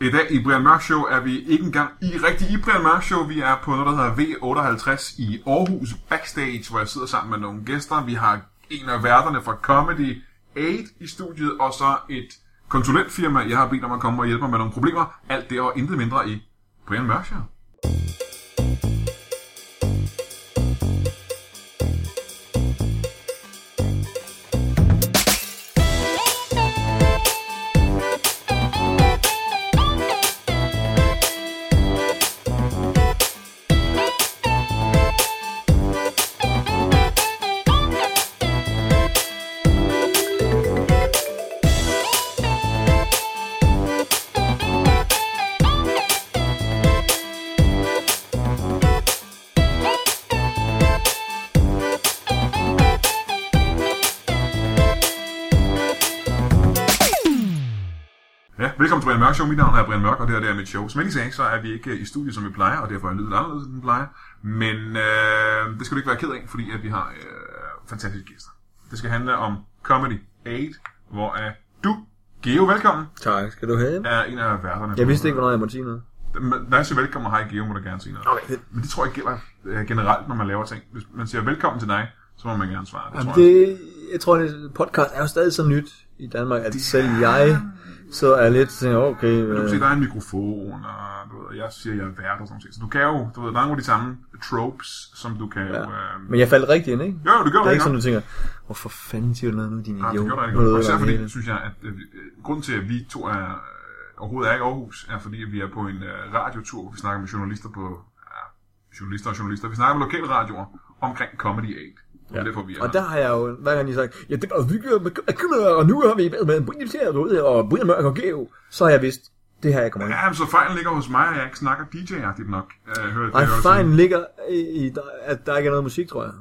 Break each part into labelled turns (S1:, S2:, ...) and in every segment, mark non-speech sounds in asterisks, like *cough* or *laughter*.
S1: I dag i Brian Mørk Show er vi ikke engang i rigtig i Brian Mørk Show. Vi er på noget, der hedder V58 i Aarhus Backstage, hvor jeg sidder sammen med nogle gæster. Vi har en af værterne fra Comedy 8 i studiet, og så et konsulentfirma, jeg har bedt om at komme og hjælpe mig med nogle problemer. Alt det og intet mindre i Brian Mørk Show. Ja, velkommen til Brian Mørk Show. Mit navn er Brian Mørk, og det her det er mit show. Som jeg lige sagde, så er vi ikke øh, i studiet, som vi plejer, og derfor er lyden anderledes, end den plejer. Men øh, det skal du ikke være ked af, fordi at vi har øh, fantastiske gæster. Det skal handle om Comedy 8, hvor er du, Geo, velkommen,
S2: Tak, skal du have?
S1: er en af værterne.
S2: Jeg vidste ikke, hvornår jeg måtte sige noget.
S1: Men Når jeg siger velkommen og hej Geo, må du gerne sige noget.
S2: Okay.
S1: Men det tror jeg gælder øh, generelt, når man laver ting. Hvis man siger velkommen til dig, så må man gerne svare. Det,
S2: Jamen
S1: tror jeg.
S2: det, jeg tror, at podcast er jo stadig så nyt i Danmark, at selv jeg så er lidt sådan, okay,
S1: Du kan
S2: øh,
S1: se, der er en mikrofon, og du ved, jeg siger, jeg er vært og sådan noget. Så du kan jo, du ved, der er nogle af de samme tropes, som du kan jo... Øh,
S2: men jeg faldt rigtig ind, ikke?
S1: Jo, det gør
S2: Det
S1: du
S2: er
S1: ikke
S2: ikke sådan,
S1: nok.
S2: du tænker, hvorfor fanden siger du noget nu, din
S1: Nej,
S2: idiot?
S1: det gjorde der ikke.
S2: Nu
S1: nok.
S2: ved
S1: Og
S2: jeg,
S1: især
S2: hvad det
S1: fordi,
S2: hele.
S1: synes jeg, at øh, øh, grunden til, at vi to er, øh, overhovedet er ikke i Aarhus, er fordi, at vi er på en øh, radiotur, hvor vi snakker med journalister på... Ja, journalister og journalister. Vi snakker med lokale radioer omkring Comedy 8. Ja. Og derfor vi er
S2: Og der har jeg jo hver gang de sagt, ja, det var virkelig, og nu har vi været med Brian Tjern ud, og Brian Mørk og Geo, så har jeg vidst, det her jeg kommer ind.
S1: Ja, men så fejlen ligger hos mig, at jeg ikke snakker DJ-agtigt nok. Øh, hører,
S2: Nej,
S1: det hører sådan.
S2: fejlen ligger i, i der- at der ikke er noget musik, tror jeg.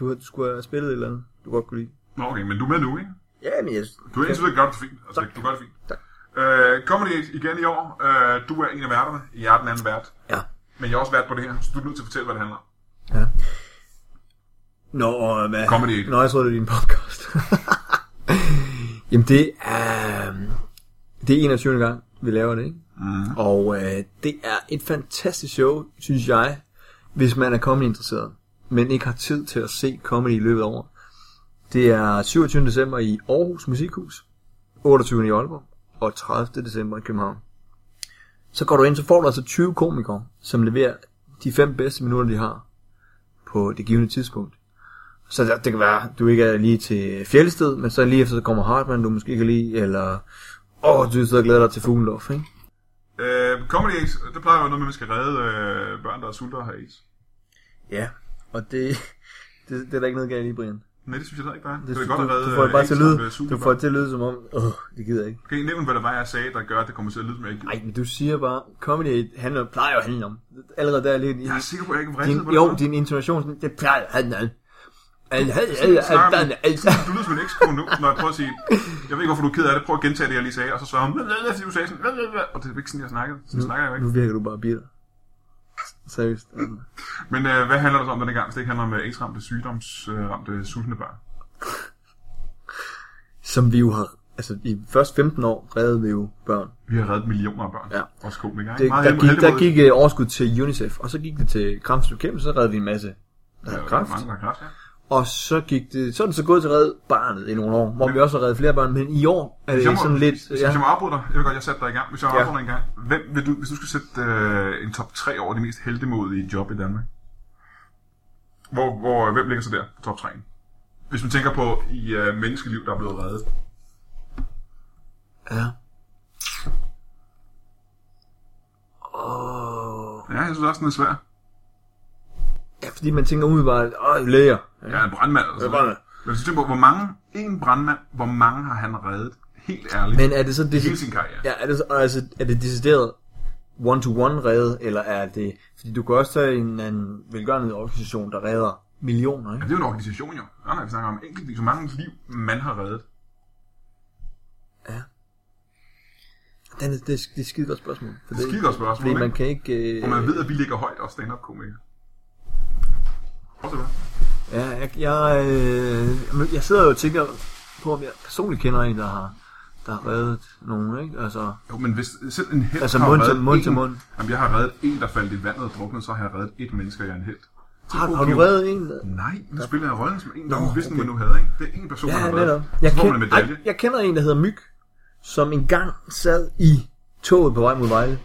S2: Du, har- du skulle have spillet et eller andet, du godt kunne lide.
S1: Nå, okay, men du er med nu, ikke?
S2: Ja, men jeg...
S1: Du er indtil videre gør det fint. Altså, du gør det fint.
S2: Tak.
S1: Øh, Comedy 8 igen i år. Øh, du er en af værterne. Jeg er den anden vært.
S2: Ja.
S1: Men jeg er også vært på det her, så du er nødt til at fortælle, hvad det handler om.
S2: Nå, og øh, hvad?
S1: Comedy Aid.
S2: Nå, jeg troede, det var din podcast. *laughs* Jamen, det er... øhm, Det er 21. gang, vi laver det, ikke? Mm. Og øh, det er et fantastisk show, synes jeg, hvis man er comedy-interesseret, men ikke har tid til at se comedy i løbet af året. Det er 27. december i Aarhus Musikhus, 28. i Aalborg og 30. december i København. Så går du ind, så får du altså 20 komikere, som leverer de fem bedste minutter, de har på det givende tidspunkt. Så det, det kan være, du ikke er lige til Fjellsted, men så lige efter, så kommer Hartmann, du måske kan lide, eller... Åh, oh, du sidder og glæder dig til Fuglendorf, ikke?
S1: Øh, Comedy Ace, det plejer jo noget med, at man skal redde øh, børn, der er sulter og har AIDS.
S2: Ja. Og det, *laughs* det, det er der ikke noget galt i, Brian.
S1: Nej, det synes jeg heller ikke, der er. Det,
S2: Det,
S1: det er
S2: du,
S1: godt at redde øh,
S2: du, får det bare
S1: AIDS,
S2: til at
S1: der bliver
S2: lyde,
S1: sulter
S2: du får
S1: børn.
S2: det til at lyde som om, åh, oh, det gider jeg ikke.
S1: Kan I nævne, hvad det var, jeg sagde, der gør, at det kommer til at lyde, som jeg ikke
S2: Nej, men du siger bare, comedy handler, plejer jo at handle om. Allerede der er lidt...
S1: Jeg er sikker på, at jeg ikke vridset på det.
S2: din, jo,
S1: før.
S2: din intonation, sådan, det plejer at handle om. Al- al- al-
S1: snakker man-
S2: al- al- al-
S1: Du lyder som en ekskone nu, når jeg prøver at sige, jeg ved ikke, hvorfor du er ked af det, prøv at gentage det, jeg lige sagde, og så svarer hun, "Hvad, hvad, hvad?" fordi du sagde sådan, "Hvad, hvad, hvad?" og det er ikke sådan, jeg snakkede. Sådan snakker jeg jo
S2: Nu
S1: ikke.
S2: virker du bare bitter. Seriøst. altså.
S1: Men øh, hvad handler det så om denne gang, hvis det ikke handler om øh, AIDS-ramte, sygdomsramte, øh, sultne børn?
S2: Som vi jo har... Altså, i første 15 år reddede vi jo børn.
S1: Vi har reddet millioner af børn.
S2: Ja.
S1: Også komikere. ikke?
S2: Det,
S1: Meget
S2: der,
S1: heldig-
S2: gik, der
S1: heldigmodigt.
S2: gik øh, overskud til UNICEF, og så gik det til kræftens bekæmpelse, så reddede vi en masse der
S1: Ja,
S2: havde
S1: der er
S2: kræft.
S1: Mange, der har kræft, ja.
S2: Og så gik det, så er det så gået til at redde barnet i nogle år, hvor vi også har reddet flere børn, men i år er det
S1: Hvis jeg må,
S2: sådan lidt...
S1: hvis, ja. hvis
S2: Ja,
S1: jeg må afbryde dig, jeg vil godt, jeg satte dig i gang. Hvis jeg ja. afbryder dig en gang, hvem vil du, hvis du skulle sætte øh, en top 3 over de mest heldemodige job i Danmark? Hvor, hvor, øh, hvem ligger så der på top 3? Hvis man tænker på i øh, menneskeliv, der er blevet reddet.
S2: ja. Åh...
S1: Ja, jeg synes også, den er svær.
S2: Ja, fordi man tænker umiddelbart, åh, læger.
S1: Ja, en brandmand. Altså.
S2: brandmand.
S1: Men hvis du tænker på, hvor mange, en brandmand, hvor mange har han reddet? Helt ærligt. Men,
S2: Men er det så
S1: hele
S2: det,
S1: sin karriere. Ja.
S2: Ja, er det, så- og altså, er det decideret one-to-one reddet, eller er det... Fordi du kan også tage en, en velgørende organisation, der redder millioner, ikke?
S1: Det er jo en organisation, jo. Nå, nej, vi snakker om enkelt, så mange liv, man har reddet.
S2: Den, er- det, er- det er et skide godt spørgsmål. For
S1: Det er et skide godt spørgsmål,
S2: Fordi man
S1: ikke?
S2: kan ikke... Øh,
S1: Og man ved, at vi ligger højt og stand-up-komikere. Prøv at se, hvad.
S2: Ja, jeg, jeg, øh, jamen, jeg sidder jo og tænker på, om jeg personligt kender en, der har der har reddet nogen, ikke? Altså,
S1: Jo, men hvis selv en helt
S2: Altså mund til- mund til
S1: en,
S2: mund.
S1: Jamen, jeg har reddet en, der faldt i vandet og druknede, så har jeg reddet et menneske, og jeg er en helt.
S2: har, har du reddet en?
S1: Nej, nu spiller jeg rollen som en, der
S2: Nå,
S1: Nå, vidste, okay.
S2: okay.
S1: man nu havde, ikke? Det er en person, der
S2: Ja,
S1: har
S2: netop.
S1: reddet.
S2: Jeg,
S1: så får man en
S2: kend,
S1: medalje.
S2: ej, jeg kender en, der hedder Myg, som engang sad i toget på vej mod Vejle.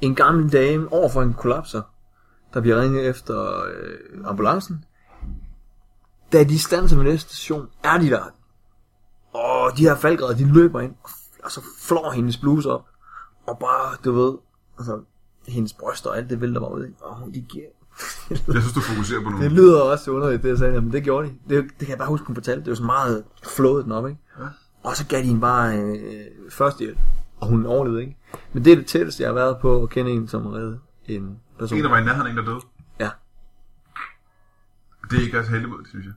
S2: En gammel dame over for en kollapser, der bliver ringet efter øh, ambulancen. Da de standser ved næste station, er de der. Og de her faldgræder, de løber ind, og f- og så flår hendes bluse op. Og bare, du ved, altså, hendes bryster og alt det vælter bare ud. Og hun, de giver
S1: Jeg synes, du fokuserer på
S2: det
S1: nogen.
S2: lyder også underligt, det jeg sagde, men det gjorde de. Det, det kan jeg bare huske, hun fortalte. Det var sådan meget flået den op, ikke? Ja. Og så gav de hende bare øh, førstehjælp, og hun overlevede, ikke? Men det er det tætteste, jeg har været på at kende en, som redde en person.
S1: En, der var i nærheden, af en, der døde.
S2: Ja,
S1: Det er ikke også heldigmod, synes jeg.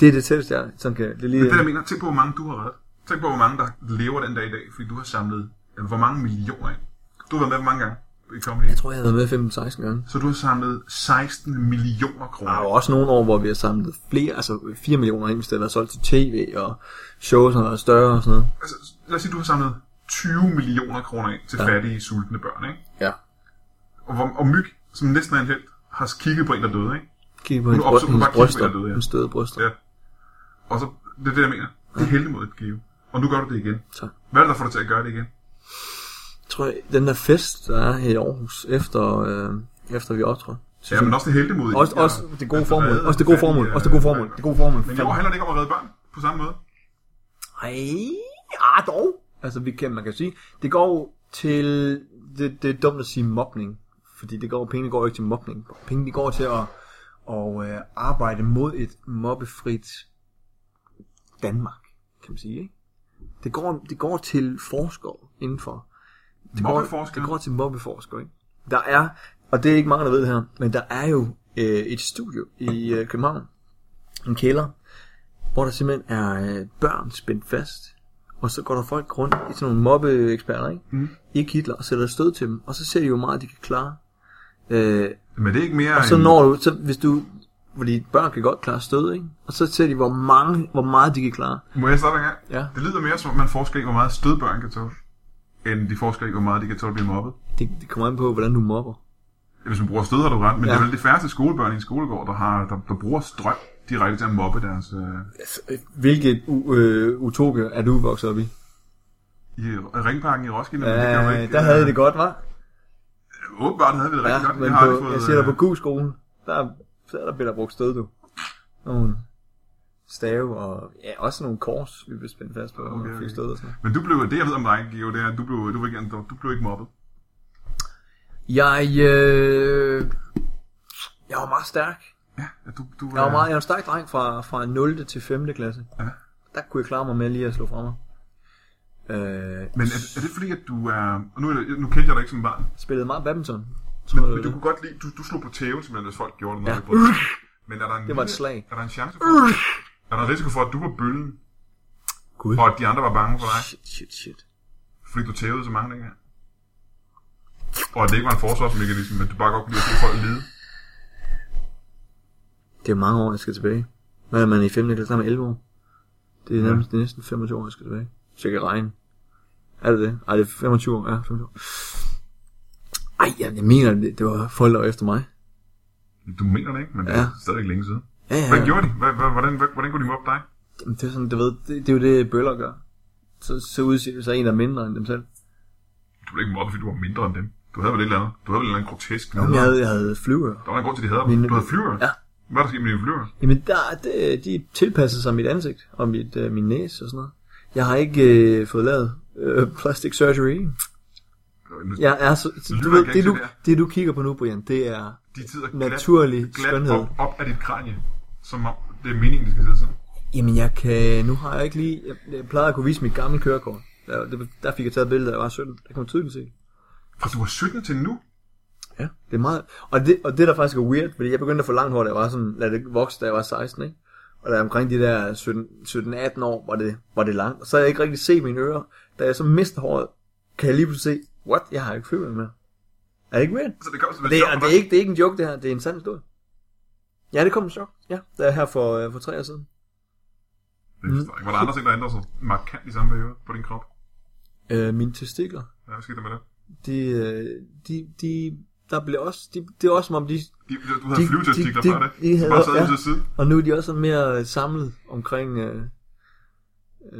S2: det er det tætteste, jeg som kan... Det er lige,
S1: Det, der mener, tænk på, hvor mange du har reddet. Tænk på, hvor mange, der lever den dag i dag, fordi du har samlet, øh, hvor mange millioner ind. Du har været med hvor mange gange i comedy?
S2: jeg tror, jeg har været med 15-16 gange.
S1: Så du har samlet 16 millioner kroner.
S2: Der er jo også nogle år, hvor vi har samlet flere, altså 4 millioner ind, hvis det har været solgt til tv, og shows har været større og sådan noget.
S1: Altså, lad os sige, du har samlet 20 millioner kroner ind til ja. fattige, sultne børn, ikke?
S2: Ja.
S1: Og, hvor- og Myg, som næsten er en held, har kigget på en, der døde, ikke?
S2: Kig på hendes,
S1: opså-
S2: bryst,
S1: hun
S2: hendes
S1: bare kigge på
S2: bryster,
S1: det, ved jeg.
S2: hendes støde bryster.
S1: Ja. Og så, det er det, jeg mener. Det er heldemodigt, Geo. Og nu gør du det igen.
S2: Tak.
S1: Hvad er det, der får dig til at gøre det igen?
S2: Jeg tror, den der fest, der er her i Aarhus, efter, øh, efter vi optrådte.
S1: Ja, men også det heldemodige.
S2: Også,
S1: Ja, Altså,
S2: også det gode
S1: at
S2: formål.
S1: redde
S2: Også det gode
S1: fattige,
S2: formål.
S1: øh,
S2: Også det gode formål.
S1: børn.
S2: Det gode formål.
S1: Men i år handler det ikke om at redde børn på samme måde.
S2: Ej, ah, dog. Altså, vi kan, man kan sige, det går jo til, det, det er dumt at sige mobning, fordi det går, penge går jo ikke til mobning. Penge de går til at, og, øh, arbejde mod et mobbefrit Danmark, kan man sige, ikke? Det går, det går til forskere indenfor. Det går,
S1: Mobbeforskere?
S2: det går til mobbeforskere, ikke? Der er, og det er ikke mange, der ved det her, men der er jo øh, et studio i øh, København, en kælder, hvor der simpelthen er øh, børn spændt fast, og så går der folk rundt i sådan nogle mobbeeksperter, ikke? Mm. I kitler og sætter stød til dem, og så ser de jo meget, de kan klare. Øh,
S1: Men det er ikke mere
S2: og så når du, så hvis du, fordi børn kan godt klare stød, ikke? Og så ser de, hvor, mange, hvor meget de kan klare.
S1: Må jeg starte en gang?
S2: Ja.
S1: Det lyder mere som, om man forsker i, hvor meget stød børn kan tåle, end de forsker i, hvor meget de kan tåle at blive mobbet.
S2: Det, det kommer an på, hvordan du mobber.
S1: Hvis man bruger stød, har du ret, men ja. det er
S2: Ja.
S1: vel de færreste skolebørn i en skolegård, der, har, der, der bruger strøm direkte til at mobbe deres... Øh,
S2: Hvilket u- Altså, øh, utopia er du vokset op i?
S1: I ringparken i Roskilde, men det kan jo
S2: Ja,
S1: ikke...
S2: Øh,
S1: øh,
S2: der havde I det godt, var?
S1: Åbenbart havde vi det
S2: Ja,
S1: rigtig godt.
S2: men
S1: Jeg har aldrig
S2: på,
S1: fået,
S2: jeg siger dig
S1: øh,
S2: på Q-skolen, der, der, der blev der brugt stød, du. Nogle stave og ja, også nogle kors, vi blev spændt fast på, okay,
S1: Okay,
S2: og
S1: okay.
S2: fik stød og sådan noget.
S1: Men du blev, det jeg ved om dig, Geo, det er, at du blev, du, var ikke, du blev ikke mobbet.
S2: Jeg, øh, jeg var meget stærk.
S1: Ja, at du, øh, du
S2: Jeg var, meget, jeg var en stærk dreng fra, fra 0. til 5. klasse.
S1: Ja.
S2: Der kunne jeg klare mig med lige at slå fra mig. Øh,
S1: Men er, er, det fordi, at du er... Og nu, er det- nu kendte jeg dig ikke som barn,
S2: spillede meget badminton.
S1: men,
S2: tror jeg,
S1: men du
S2: det var.
S1: kunne godt lide... Du, du slog på tæven, simpelthen, hvis folk gjorde det. når
S2: Ja.
S1: du brød
S2: *laughs*
S1: dig. Men er der en
S2: Det var et
S1: lille-
S2: slag.
S1: Er der en chance for... Er der en risiko for, at du var bøllen,
S2: Gud.
S1: og at de andre var bange for dig,
S2: Shit, shit, shit.
S1: fordi du tævede så mange dengang? Og at det ikke var en forsvarsmekanisme, men du bare godt kunne lide at se folk lide.
S2: Det er mange år, jeg skal tilbage. Hvad er man i 5. klasse? Der er man 11 år. Det er, nærmest, det er næsten 25 år, jeg skal tilbage. Så jeg kan regne. Er det det? Ej, det er 25 år. Ja, 25 år. Ej, jamen, jeg mener, det, det var folk, der var efter mig.
S1: Du mener det ikke, men det er
S2: Ja.
S1: stadig længe siden.
S2: Ja, ja.
S1: Hvad
S2: ja.
S1: gjorde de? Hvad- hvad- Hvordan, hvordan, hvordan kunne de mobbe dig?
S2: Jamen, det er sådan, du ved, det, det er jo det, bøller gør. Så, så udser det sig en, der er mindre end dem selv.
S1: Du blev ikke mobbet, fordi du var mindre end dem. Du havde vel et eller andet. Du havde vel en eller anden grotesk
S2: Jamen, jeg
S1: leder.
S2: havde, jeg havde flyver.
S1: Der var en grund til, at de havde
S2: Mine-
S1: dem. Du havde flyver.
S2: Ja.
S1: Hvad er der sket med dine flyver?
S2: Jamen, der, det, de tilpassede sig mit ansigt og mit, øh, min næse og sådan noget. Jeg har ikke øh, fået lavet øh, plastic surgery.
S1: Ja.
S2: Jeg er så,
S1: lyder
S2: du ved,
S1: ikke
S2: det, du,
S1: til det her.
S2: det du kigger på nu, Brian, det er
S1: De tider
S2: naturlig
S1: glat, glat
S2: skønhed.
S1: op, op af dit kranje, som om det er meningen, det skal sidde sådan.
S2: Jamen, jeg kan... Nu har jeg ikke lige... Jeg, jeg plejede at kunne vise mit gamle kørekort. Der, det- der fik jeg taget billeder, da jeg var 17. Der kunne man tydeligt se.
S1: Fra du var 17 til nu?
S2: Ja. Det er meget... Og det, og det der faktisk er weird, fordi jeg begyndte at få langt hår, da jeg var sådan... Lad det vokse, da jeg var 16, ikke? Og da jeg omkring de der 17-18 år, var det, var det langt. Og så har jeg ikke rigtig set mine ører. Da jeg så mister håret, kan jeg lige pludselig se... What? Jeg har ikke følt med. Er det ikke weird?
S1: Så det kom som
S2: Det er, det, er ikke, det er ikke en joke, det her. Det er en sand historie. Ja, det kom som chok. Ja, det er her for, øh, for tre år siden.
S1: Det forstår jeg ikke. Var der andre ting, der ændrede sig markant i samme periode på din krop?
S2: Øh, mine testikler,
S1: Ja, Hvad skete der med det?
S2: de, øh, de, de, der blev også, de, det er også som om de,
S1: De, du, du havde
S2: De-
S1: flyvetestikler
S2: de-
S1: før
S2: de-
S1: det.
S2: de
S1: De
S2: havde-
S1: bare sad ja.
S2: ja.
S1: til side.
S2: og nu er de også sådan mere øh, samlet omkring øh, øh,
S1: Men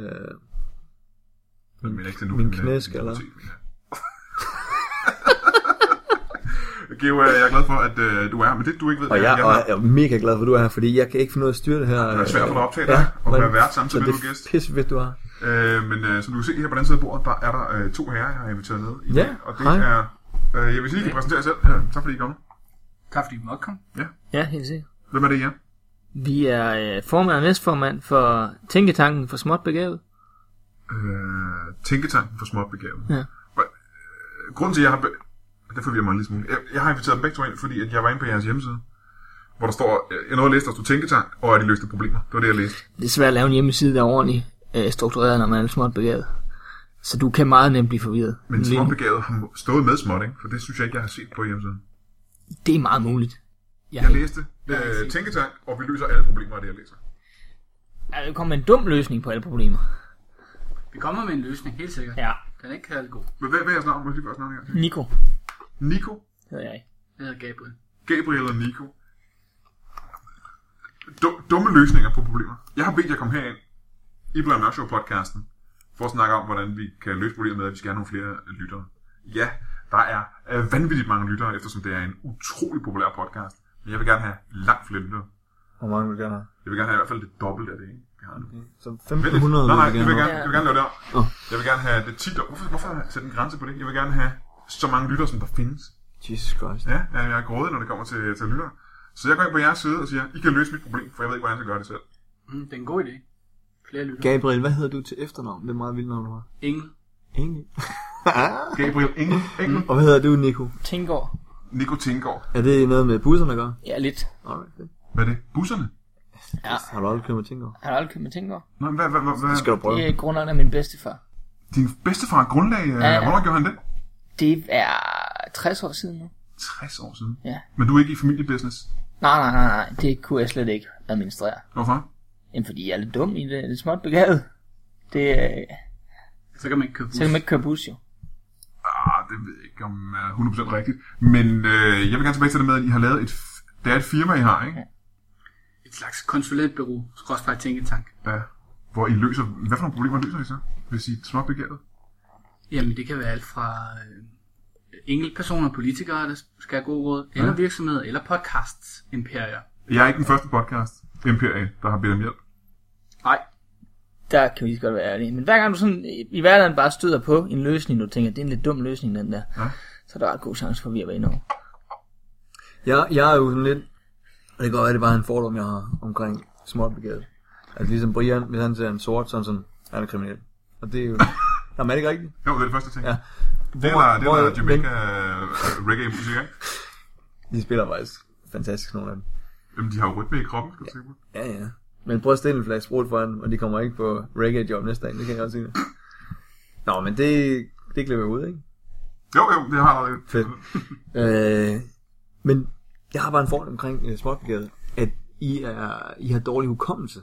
S1: jeg mener ikke til nu.
S2: Min
S1: men, øh,
S2: knæskaller.
S1: min pubertet, mener jeg. *laughs* Geo, øh, jeg er glad for, at øh, du er her, men det du ikke ved,
S2: Og
S1: er,
S2: jeg,
S1: at
S2: og jeg er mega glad for, at du er her, fordi jeg kan ikke finde ud af at styre det her. Øh, Det
S1: er svært for dig at optage dig og være vært samtidig med, du er gæst.
S2: Det er pisse fedt, du har.
S1: Øh, men øh, som du kan se her på den side af bordet, der er der øh, to herrer, jeg har inviteret med i
S2: Ja,
S1: dag, og det
S2: hej.
S1: er... Øh, jeg vil sige, at I kan præsentere jer selv. Øh, tak fordi I kom.
S3: Tak fordi vi måtte komme.
S4: Ja, helt sikkert.
S1: Hvem er det, I er?
S4: Vi er øh, formand og næstformand for Tænketanken for Småt Begavet.
S1: Øh, Tænketanken for småt begavet.
S4: Ja.
S1: Øh, Grunden til, at jeg har... Be- det forvirrer mig en lille smule. Jeg, jeg har inviteret dem begge to ind, fordi at jeg var inde på jeres hjemmeside, hvor der står, øh, jeg nåede at læse, der stod Tænketank, og at I løste problemer. Det var det, jeg læste.
S4: Det er svært at lave en hjemmeside, der er ordentligt øh, struktureret, når man er småt begavet. Så du kan meget nemt blive forvirret.
S1: Men
S4: Lige nu.
S1: småbegavet har stået med småt, ikke? For det synes jeg ikke, jeg har set på hjemmesiden.
S4: Det er meget muligt.
S1: Jeg
S4: Jeg,
S1: læste øh, Tænketank, og vi løser alle problemer af det, jeg læser.
S4: jeg, jeg kom med en dum løsning på alle problemer.
S3: Vi kommer med en løsning, helt sikkert.
S4: Ja.
S3: Den er ikke kaldet god.
S1: Men hvad, hvad er jeres navn? Må jeg lige få jeres navn her?
S4: Nico
S1: Nico?
S4: hedder jeg.
S3: Den hedder Gabriel.
S1: Gabriel og Nico. Du- dumme løsninger på problemer. Jeg har bedt jer komme herind i Brian Mørk Show podcasten for at snakke om, hvordan vi kan løse problemet med, at vi skal have nogle flere lyttere. Ja, der er øh, vanvittigt mange lyttere, eftersom det er en utrolig populær podcast. Men jeg vil gerne have langt flere lyttere.
S2: Hvor mange vil du gerne have?
S1: Jeg vil gerne have i hvert fald det dobbelte af det, ikke? vi har nu.
S2: Så
S1: Vent lidt.
S2: 1500
S1: Nej, nej,
S2: vil
S1: jeg
S2: du
S1: vil
S2: gerne
S1: gerne,
S2: have.
S1: jeg vil gerne lave det om.
S2: Åh.
S1: Jeg vil gerne have det 10 dobbelte. Hvorfor, hvorfor sætte en grænse på det? Jeg vil gerne have så mange lyttere, som der findes.
S2: Jesus Christ.
S1: Ja, ja, jeg er grådig, når det kommer til, til lytter. Så jeg går ind på jeres side og siger, I kan løse mit problem, for jeg ved ikke, hvordan jeg skal gøre det selv.
S3: Mm, det er en god idé. Flere lytter.
S2: Gabriel, hvad hedder du til efternavn? Det er meget vildt navn, du har.
S3: Ingen.
S2: Engel.
S1: Gabriel Engel, Engel.
S2: *laughs* Og hvad hedder du, Nico?
S4: Tænker.
S1: Nico Tinggaard.
S2: Er det noget med busserne at gøre?
S4: Ja, lidt.
S2: Alright, fedt.
S1: Hvad er det? Busserne?
S4: Ja.
S2: Har du aldrig kørt med tænker?
S4: Har du aldrig købt med Tænker?
S1: Nå, hvad, hvad, hvad, hvad?
S2: Det skal du prøve.
S4: Det er grunderne af min bedstefar.
S1: Din bedstefar grundlag, ja, ja.
S4: ja.
S1: hvornår gjorde han det?
S4: Det er 60 år siden nu.
S1: 60 år siden.
S4: Ja.
S1: Men du er ikke i familiebusiness.
S4: Nej, nej, nej, nej. Det kunne jeg slet ikke administrere.
S1: Hvorfor?
S4: Jamen, fordi jeg er lidt dum i det. Det er småt begavet. Det, øh,
S3: Så kan man ikke købe
S4: så kan man ikke køre bus, jo.
S1: Ah, det ved jeg ikke, om er 100% rigtigt. Men øh, jeg vil gerne tilbage til det med, at I har lavet et... f- Det er et firma, I har, ikke?
S4: Ja.
S3: Et slags konsulentbureau, skråsfejl tænketank.
S1: Ja. Hvor I løser... Hvad for nogle problemer løser I så? Hvis I er småt begavet?
S3: Jamen det kan være alt fra øh, enkeltpersoner og politikere, der skal have god råd, eller virksomheder, eller podcasts imperier.
S1: Jeg er ikke den første podcast, Imperie, der har bedt om hjælp.
S3: Nej,
S4: Der kan vi lige så godt være ærlige. Men hver gang du sådan i i hverdagen bare støder på en løsning, du tænker, det er en lidt dum løsning, den der,
S1: Ja.
S4: så er der ret god chance for, at vi er inde over.
S2: Jeg, jeg er jo sådan lidt, og det kan godt være, det er bare en fordom, jeg har omkring småt begavet. Altså ligesom Brian, hvis han ser en sort, så er han sådan, han er kriminel. Og det er
S1: *laughs*
S2: jo... Jamen er det ikke rigtigt?
S1: Jo, det er det første, jeg tænker.
S2: Ja.
S1: Det er der, det er
S2: hvor-
S1: der Jamaica øh, reggae musik, ikke?
S2: De spiller faktisk fantastisk, nogle af dem.
S1: Jamen, de har jo rytme i kroppen, skal du tænke på.
S2: Ja, ja. Men prøv at stille en flaske sprut foran, og de kommer ikke på reggae-job næste dag, det kan jeg også sige. dig. Nå, men det, det klipper jeg ud, ikke?
S1: Jo, jo, det har der lidt. *laughs*
S2: Fedt. Øh, men jeg har bare en fordom omkring uh, småtbegavet, at I, er, I har dårlig hukommelse.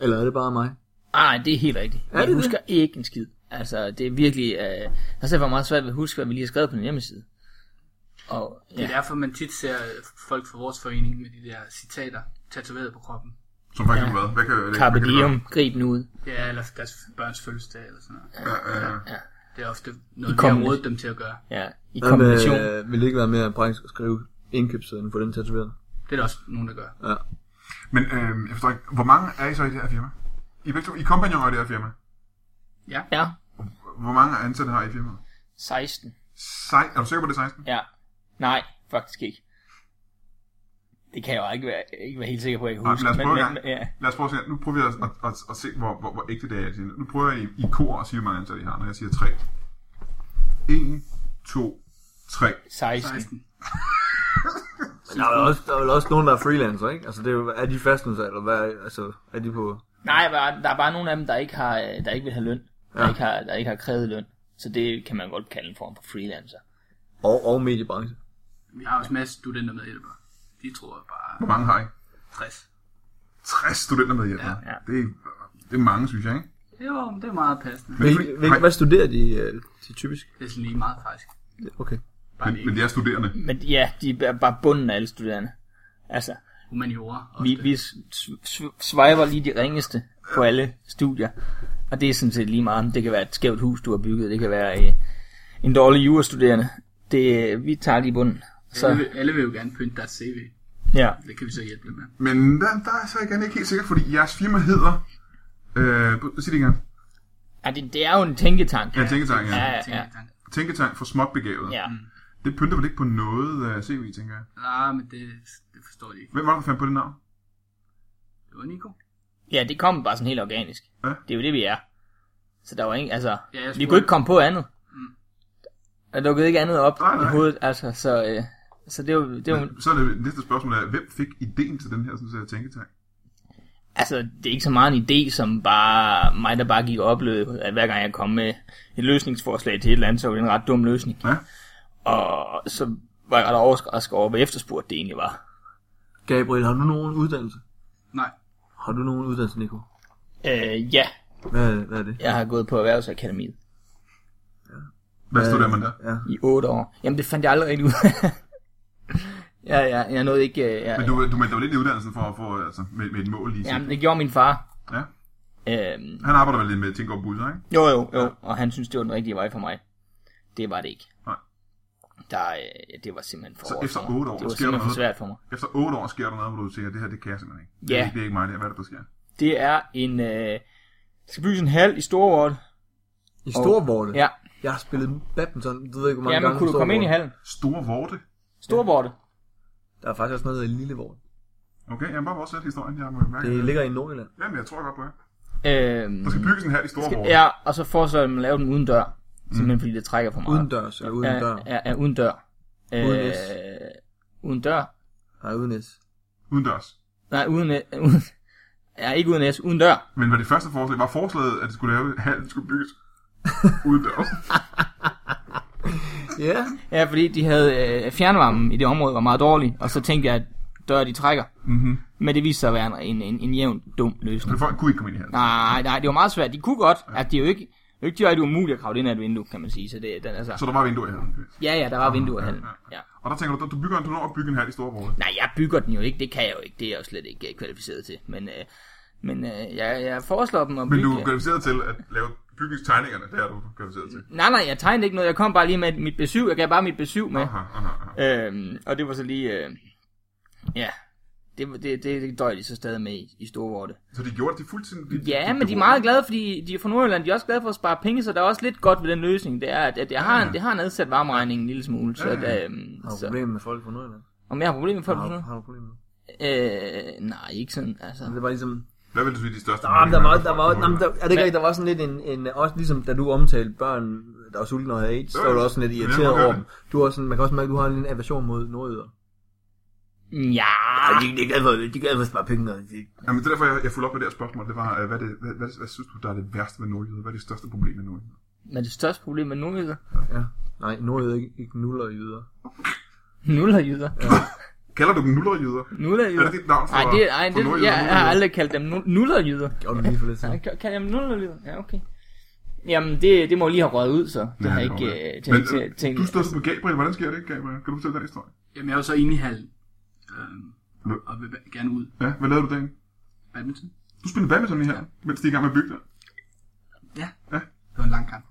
S2: Eller er det bare mig?
S4: Nej, det er helt rigtigt.
S2: Er
S4: jeg
S2: det
S4: husker ikke en skid. Altså, det er virkelig... Øh, altså, det var meget svært ved at huske, hvad vi lige har skrevet på den hjemmeside. Og,
S3: det er
S4: ja,
S3: derfor man tit ser øh, folk fra vores forening med de der citater tatoveret på kroppen.
S1: Som for eksempel hvad? Hvad kan, hvad
S4: Carpe
S1: kan det være?
S4: Diem, grib nu ud.
S3: Ja, eller deres børns fødselsdag eller sådan noget.
S1: Ja, ja, ja.
S3: Det er ofte noget, vi har
S4: kommende-
S3: rådet dem til at gøre.
S4: Ja, i
S2: Hvad
S4: kombination.
S2: Med, øh, vil det ikke være mere praktisk at skrive indkøbssiden for den tatoveret?
S3: Det er der også nogen, der gør.
S2: Ja.
S1: Men øh, jeg forstår ikke, hvor mange er I så i det her firma? I er begge to, I er kompagnoner i det her firma.
S4: Ja,
S1: Hvor mange ansatte har I i firmaet?
S4: 16.
S1: Sej, er du sikker på, det er 16?
S4: Ja. Nej, faktisk ikke. Det kan jeg jo ikke være, ikke være helt sikker på, at jeg kan
S1: Nej,
S4: huske.
S1: lad os prøve en gang.
S4: ja.
S1: Lad os prøve at se, nu prøver vi at, at, at, at se, hvor, hvor, hvor ægte det er. jeg siger. Nu prøver jeg i, i kor at sige, hvor mange ansatte I har, når jeg siger 3. 1, 2, 3.
S4: 16.
S3: 16.
S2: Der er, vel også, der er vel også nogen, der er freelancer, ikke? Altså, det er, jo- er de fastansat, eller hvad? er- Altså, er de på...
S4: Nej, bare- der er bare nogle af dem, der ikke, har, øh, der ikke vil have løn. Der, ja. ikke har, der ikke har krævet løn. Så det kan man godt kalde en form for freelancer.
S2: Og, og mediebranche.
S3: Vi har også masser af studenter med hjælper. De tror bare
S1: Hvor mange har I?
S3: 60.
S1: 60 studenter med hjælp. Ja,
S4: ja.
S1: Det er Det er mange, synes jeg, ikke?
S3: Jo, men det er meget passende.
S1: Men,
S2: Hvil, hvil, hvad studerer de, øh, de typisk?
S3: Det er sådan lige meget faktisk.
S2: Okay.
S3: Bare
S1: men, men
S3: det
S1: det er studerende.
S4: Men ja, de er bare bunden af alle studerende. Altså,
S3: humaniora.
S4: vi,
S3: ofte.
S4: vi sv- sv- swiper lige de ringeste på alle studier. Og det er sådan set lige meget. om Det kan være et skævt hus, du har bygget. Det kan være øh, en dårlig jurastuderende. Det, øh, vi tager lige bunden.
S3: Alle,
S4: Så,
S3: vil, alle vil jo gerne pynte deres CV.
S4: ja.
S3: Det kan vi så hjælpe dem med.
S1: Men der, der er jeg så igen ikke helt sikker, fordi jeres firma hedder... Øh, sig det igen.
S4: ja det, det er jo en tænketank.
S1: Ja, tænketank, ja.
S4: Ja,
S3: Tænker
S4: ja.
S3: jeg tanker.
S1: Tænketank for småbegavet.
S4: ja.
S1: Det pynter vel ikke på noget uh, CV, tænker jeg.
S3: Nej, Ah, men det, det forstår de ikke.
S1: Hvem var det, der fandt på det navn?
S3: Det var Nico.
S4: Ja, det kom bare sådan helt organisk.
S1: Ja.
S4: Det er jo det, vi er. Så der var ingen, altså,
S3: Ja, jeg
S4: vi kunne
S3: spurgte-
S4: ikke komme på andet.
S3: Mm.
S4: Der dukkede ikke andet op
S1: Nej, Mm. nej.
S4: i hovedet, altså, så, øh, så det var, det var,
S1: Så er det næste spørgsmål er, hvem fik ideen til den her sådan, set, tænketank?
S4: altså, det er ikke så meget en idé, som bare mig, der bare gik og oplevede, at hver gang jeg kom med et løsningsforslag til et eller andet, så var det en ret dum løsning.
S1: Ja.
S4: Og så var jeg ret overrasket over, hvor efterspurgt det egentlig var.
S2: Gabriel, har du nogen uddannelse?
S3: Nej.
S2: Har du nogen uddannelse, Nico?
S4: Øh, ja,
S2: Hvad, hvad er det?
S4: jeg har gået på Erhvervsakademiet
S1: Hvad stod der, man der?
S2: Ja.
S4: i otte år. Jamen, det fandt jeg aldrig rigtig ud af. *laughs* ja, ja, jeg nåede ikke... øh, Jeg,
S1: Men du, du meldte dig vel ind i uddannelsen for at få, altså, med, med et mål lige
S4: Jamen, det gjorde min far.
S1: Ja.
S4: Øhm,
S1: Han arbejder vel lidt med tænker over busser, ikke?
S4: jo, jo, jo. Og han synes, det var den rigtige vej for mig. Det var det ikke.
S1: Nej.
S4: Der, øh, det var simpelthen for
S1: Så
S4: hårdt
S1: efter
S4: for mig.
S1: otte år,
S4: Det var
S1: sker
S4: simpelthen
S1: der
S4: for
S1: noget?
S4: svært for mig.
S1: Efter 8 år sker der noget, hvor du siger, det her, det kan jeg simpelthen ikke. Det,
S4: Ja.
S1: er, ikke- det er ikke mig, det er, hvad er det, der sker?
S4: Det er en... Øh, der skal bygges en hall i Storvort.
S2: I Storvorte?
S4: Ja.
S2: Jeg har spillet badminton, du ved ikke, hvor mange
S4: Jamen,
S2: gange
S4: kunne du komme ind i
S2: Storvorte.
S4: hallen?
S1: Store vorte.
S4: Storvort.
S2: Der er faktisk også noget, der hedder Lillevorte.
S1: Okay, jamen bare vores historien, jeg må mærke.
S2: Det
S1: Det...
S2: ligger i Nordjylland.
S1: Jamen, jeg tror godt på jer.
S4: Øhm,
S1: Der skal bygges en Mm. her i store vorte.
S4: ja, og så foreslår jeg dem at lave den uden dør. Simpelthen fordi det trækker for meget.
S2: Udendørs, eller uden dør.
S4: Ja, ja, ja, uden dør.
S2: Uden
S4: øh,
S2: S.
S4: uden dør.
S2: Nej, uden S.
S1: Udendørs.
S4: Nej, uden... øh, uden ja, ikke uden S, uden dør.
S1: Men var det første forslag, var forslaget, at det skulle lave, hallen skulle bygges udendørs?
S2: Ja.
S4: Ja, fordi de havde øh, fjernvarmen i det område var meget dårlig, og så tænkte jeg, at dør de trækker.
S1: mm-hmm.
S4: Men det viste sig at være en, en, en, en jævn dum løsning.
S1: Men folk kunne ikke komme ind i hallen.
S4: Nej, nej, det var meget svært. De kunne godt, at det er jo ikke, det er jo ikke direkte umuligt at kravle ind ad et vindue, kan man sige. Så det, den, altså,
S1: Så Ah, der var vinduer i hallen.
S4: ja, ja, der var vinduer i hallen. Ja.
S1: Og der tænker du, du bygger en, du når at bygge en hal i store vorte.
S4: Nej, jeg bygger den jo ikke. Det kan jeg jo ikke. Det er jeg jo slet ikke øh, kvalificeret til. Men, øh, men øh, jeg, jeg foreslår dem at
S1: Men
S4: bygge...
S1: du er kvalificeret til at lave bygningstegningerne, det er du kvalificeret til.
S4: Nej, nej, jeg tegnede ikke noget. Jeg kom bare lige med mit besøg. Jeg gav bare mit besøg med.
S1: Aha, aha, aha.
S4: Øhm, og det var så lige... Øh, ja, det, det, det, det døjer de så stadig med i, i Storvorte.
S1: Så de gjorde det fuldstændig...
S4: Ja, men de er meget glade, fordi de er fra Nordjylland. De er også glade for at spare penge, så der er også lidt godt ved den løsning. Det er, at, at jeg har, en, det har nedsat varmeregningen en lille smule. Så,
S1: Ja,
S4: at, øhm,
S2: Har du
S4: så
S2: problemer med folk fra Nordjylland?
S4: om jeg har problemer med folk
S2: Har,
S4: på
S2: du-
S4: noget?
S2: har du problemer med?
S4: Øh, nej, ikke sådan. Altså.
S2: Det var ligesom...
S1: Hvad vil du sige, de største...
S2: Ah, men der var, der var,
S1: problemer
S2: jamen,
S1: er?
S2: der, er det ikke rigtigt, der var sådan lidt en, en, også ligesom da du omtalte børn, der var sultne og havde AIDS, så var du også sådan lidt
S1: Ja,
S2: irriteret
S1: man gør
S2: over
S1: det.
S2: dem. Du er også sådan, man kan også mærke, at du har en lille aversion mod nordjyder.
S4: Ja,
S2: Ej, Ah, de, de, er glade for, de er glade for at spare penge. og de-
S1: Jamen, det er derfor, jeg, jeg fulgte op med det her spørgsmål. Det var, øh, hvad, er det, hvad, hvad, hvad, synes du, der er det værste ved nordjyder? Hvad er det største problem med nordjyder?
S4: men det største problem med nordjyder,
S2: Ja. Nej, nordjyder ikke, ikke nuller yder.
S4: nullerjyder,
S1: Kalder du dem nullerjyder? Er
S4: nullerjyder.
S1: det dit navn for,
S4: Nej, det, ej,
S1: for
S4: det,
S1: nordjyder?
S4: jeg, jeg har aldrig kaldt dem nu- nullerjyder.
S2: Gjorde du lige for lidt *laughs* siden.
S4: Kan, kan jeg nullerjyder? Ja, okay. Jamen, det, det må lige have røget ud, så. Det
S1: Ja,
S4: har jeg
S1: det må
S4: ikke
S1: det.
S4: øh,
S1: Men,
S4: tænkt til.
S1: øh,
S4: tænkt-
S1: Du stod på Gabriel. Hvordan sker det, Gabriel? Kan du fortælle den historie?
S3: Jamen, jeg er jo så inde i hallen. Øhm,
S1: Nå.
S3: og vil ba- gerne ud.
S1: Ja, hvad lavede du derinde?
S3: Badminton.
S1: Du spillede badminton i her, mens de er i gang med at bygge der.
S3: Ja.
S1: Ja.
S3: Det var en lang kamp.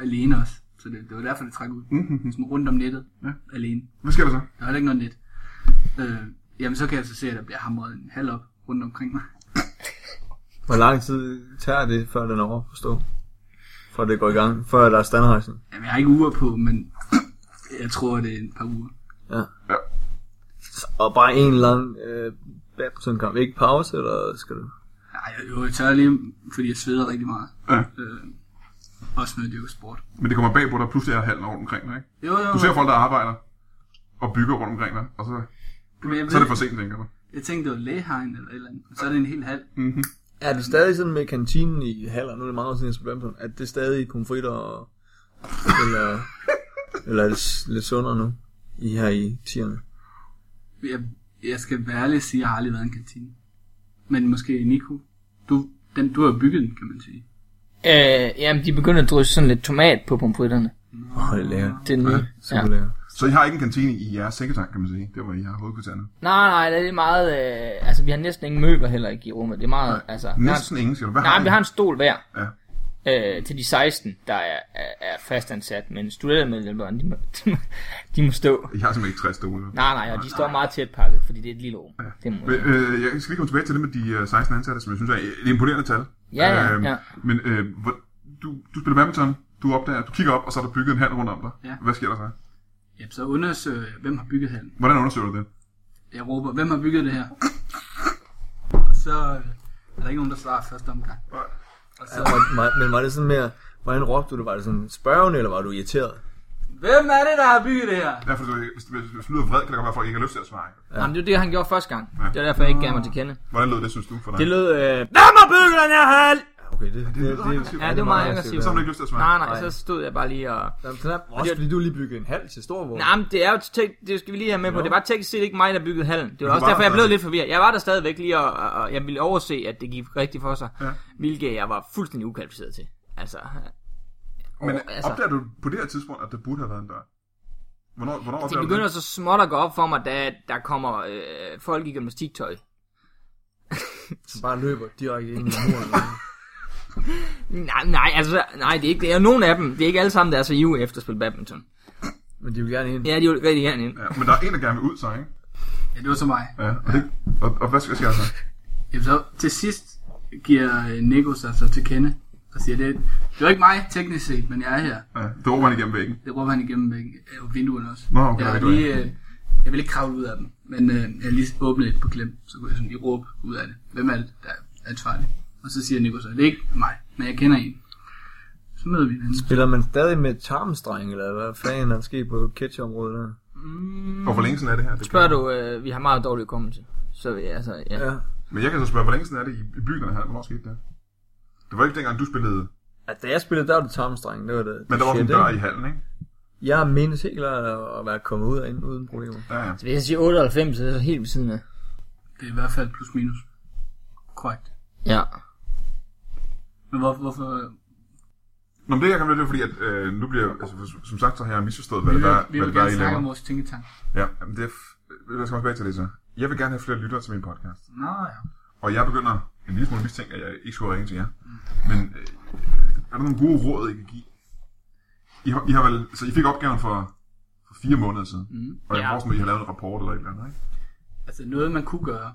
S3: Alene også. Så det, det var derfor, det trak ud.
S1: Mhm.
S4: Mm-hmm.
S3: Sådan rundt om nettet.
S1: Ja.
S3: Alene.
S1: Hvad sker der så?
S3: Der er heller ikke noget net. Øh, jamen, så kan jeg så se, at der bliver hamret en halv op rundt omkring mig.
S2: Hvor lang tid tager det, før den er over at forstå? Før det går i gang? Før der er standrejsning?
S3: Jamen, jeg har ikke uger på, men *clears throat* jeg tror, det er et par uger.
S2: Ja.
S1: Ja.
S2: Og bare en lang øh, badmintonkamp. Ikke pause, eller skal du...
S3: Nej, jeg øver tør lige, fordi jeg sveder rigtig meget.
S1: Ja.
S3: Øh, også noget, det er jo sport.
S1: Men det kommer bag på dig, pludselig er halen rundt omkring dig, ikke?
S3: Jo, jo,
S1: Du ser folk, der arbejder og bygger rundt omkring dig, og så,
S3: men jeg, ved,
S1: så er det for sent, tænker du.
S3: jeg tænkte, det var lægehegn eller et eller andet. Så er det en hel halv.
S1: Mm-hmm.
S2: Er det stadig sådan med kantinen i Haller, nu er det meget siden, jeg spiller badminton, at det er stadig pomfritter og... Eller, eller er det s- lidt sundere nu? I her i tierne.
S3: Jeg, jeg skal være ærlig og sige, at jeg har aldrig været i en kantine. Men måske Nico Du, den, du har jo bygget den, kan man sige.
S4: Øh, jamen, de begynder at drysse sådan lidt tomat på pomfritterne.
S2: Åh, det er lækkert.
S4: Det er den nye.
S2: Super lækkert.
S1: Så I har ikke en kantine i jeres sengetang, kan man sige. Det var I har hovedkvarterne.
S4: Nej, nej, det er meget... Øh, altså, vi har næsten ingen møbler heller ikke i rummet. Det er meget... Nej, altså, vi har en-
S1: Næsten ingen, siger du. Hvad
S4: Nej,
S1: I?
S4: vi har en stol hver.
S1: Ja.
S4: Øh, til de 16, der er, er, er fastansat, men studentermedlemmerne, de, må- *laughs* de, må- de må stå.
S1: I har simpelthen ikke 60 stole.
S4: Nej, nej, og de står meget tæt pakket, fordi det er et lille rum. Det må
S1: Men, øh, jeg skal lige komme tilbage til det med de øh, 16 ansatte, som jeg synes er et imponerende tal. Øhm,
S4: Ja, ja, ja.
S1: Men øh, hvor, du, du spiller badminton, du opdager, du kigger op, og så er der bygget en hal rundt om dig.
S3: Ja.
S1: Hvad sker der så?
S3: Ja, så undersøger jeg, hvem har bygget hallen.
S1: Hvordan undersøger du det?
S3: Jeg råber, hvem har bygget det her? Og så øh, er der ikke nogen, der svarer første omgang. Og så,
S2: Var- var- Men var det sådan mere, hvordan råbte du det? Var det sådan spørgende, eller var du irriteret?
S3: hvem er det, der har bygget det her?
S1: Derfor, hvis du- hvis du, hvis du lyder vred, kan det godt være, at folk ikke har lyst til at svare.
S4: Ja. Jamen, det var det, han gjorde første gang. Det var derfor, jeg ikke gav mig til kende.
S1: Hvordan lød det, synes du, for dig?
S4: Det lød... Øh, Hvem har bygget den her hal?
S2: Okay, det, det, det,
S1: aggressivt. Ja,
S4: det var meget aggressivt.
S1: Så har du ikke lyst til at svare.
S4: Nej, nej, så stod jeg bare lige og...
S2: Jamen, knap. Også fordi du lige byggede en halv til Storvåg.
S4: Nej, men det er jo tek- det skal vi lige have med på. Det var teknisk set ikke mig, der byggede hallen. Det var
S1: du
S4: også
S1: var
S4: derfor,
S1: der
S4: jeg blev
S1: stadig.
S4: lidt forvirret. Jeg var der stadigvæk lige, og, og- og jeg ville overse, at det gik rigtigt for sig.
S1: Ja.
S4: Hvilket jeg var fuldstændig ukvalificeret til. Altså,
S1: Men
S4: Åh, altså.
S1: opdager du på det her tidspunkt, at der burde have været en dør? Hvornår, hvornår
S4: Altså, det
S1: opdager du
S4: begynder
S1: det?
S4: så småt at gå op for mig, da der kommer øh, folk i gymnastiktøj.
S2: Så bare løber direkte ind i
S4: *laughs*
S2: muren.
S4: Nej, nej, altså, nej, det er ikke det. Er nogen af dem, det er ikke alle sammen, der er så ivrige efter at spille badminton.
S2: Men de vil gerne ind.
S4: Ja, de er jo rigtig gerne ind.
S1: Ja, men der er en, der gerne vil ud, så, ikke?
S3: Ja, det var så mig.
S1: Ja, og, det, og, og hvad skal jeg så?
S3: Jamen, så til sidst giver øh, Nico sig så til kende og siger, det, det var ikke mig teknisk set, men jeg er her.
S1: Ja, det råber han igennem væggen.
S3: Det råber han igennem væggen, øh, vinduerne også.
S1: Nå, okay,
S3: jeg, har
S1: det var
S3: lige, øh, jeg vil ikke kravle ud af dem, men øh, jeg har lige åbnet et på klem, så kunne jeg sådan lige råbe ud af det. Hvem er det, der er ansvarlig? Og så siger Nico så, det er ikke mig, men jeg kender en. Så møder vi hinanden.
S2: Spiller man stadig med tarmstreng, eller hvad fanden er der sket på ketchupområdet der?
S1: Og hvor længe siden er det her? Det
S4: Spørger du, øh, vi har meget dårlig hukommelse. Så ja, altså, ja.
S2: Ja.
S1: Men jeg kan så spørge, hvor længe siden er det i, i byen, her? Hvornår skete det? Det var ikke dengang, du spillede,
S2: Altså, da jeg spillede, der var det tarmstreng. Det var det.
S1: men der var også
S2: shit,
S1: en dør
S2: ikke?
S1: i hallen, ikke?
S2: Jeg mindes helt klart at- at være kommet ud og ind uden problemer.
S1: Ja, ja.
S4: Så hvis jeg siger 98, så er det så helt ved siden af.
S3: Det er i hvert fald plus minus. Korrekt.
S4: Ja.
S3: Men hvor, hvorfor...
S1: Nå, men det jeg kan blive, det er fordi, at øh, nu bliver, altså, for- som sagt, så har jeg misforstået, hvad
S3: Vi
S1: det
S3: vil,
S1: var,
S3: vi
S1: hvad
S3: vil
S1: det var,
S3: gerne
S1: I
S3: snakke om
S1: laver.
S3: vores tænketank.
S1: Ja, men det er, f- jeg skal komme tilbage til det så. Jeg vil gerne have flere lyttere til min podcast.
S3: Nå ja.
S1: Og jeg begynder en lille smule mistænkt, at jeg ikke skulle ringe til jer. Men øh, er der nogle gode råd, I kan give? I har, I har vel, så I fik opgaven for, for fire måneder siden.
S3: Mhm.
S1: Mm. Og jeg
S4: Ja.
S1: ja. forstår, at I har lavet en rapport eller et eller andet, ikke?
S3: Altså noget, man kunne gøre,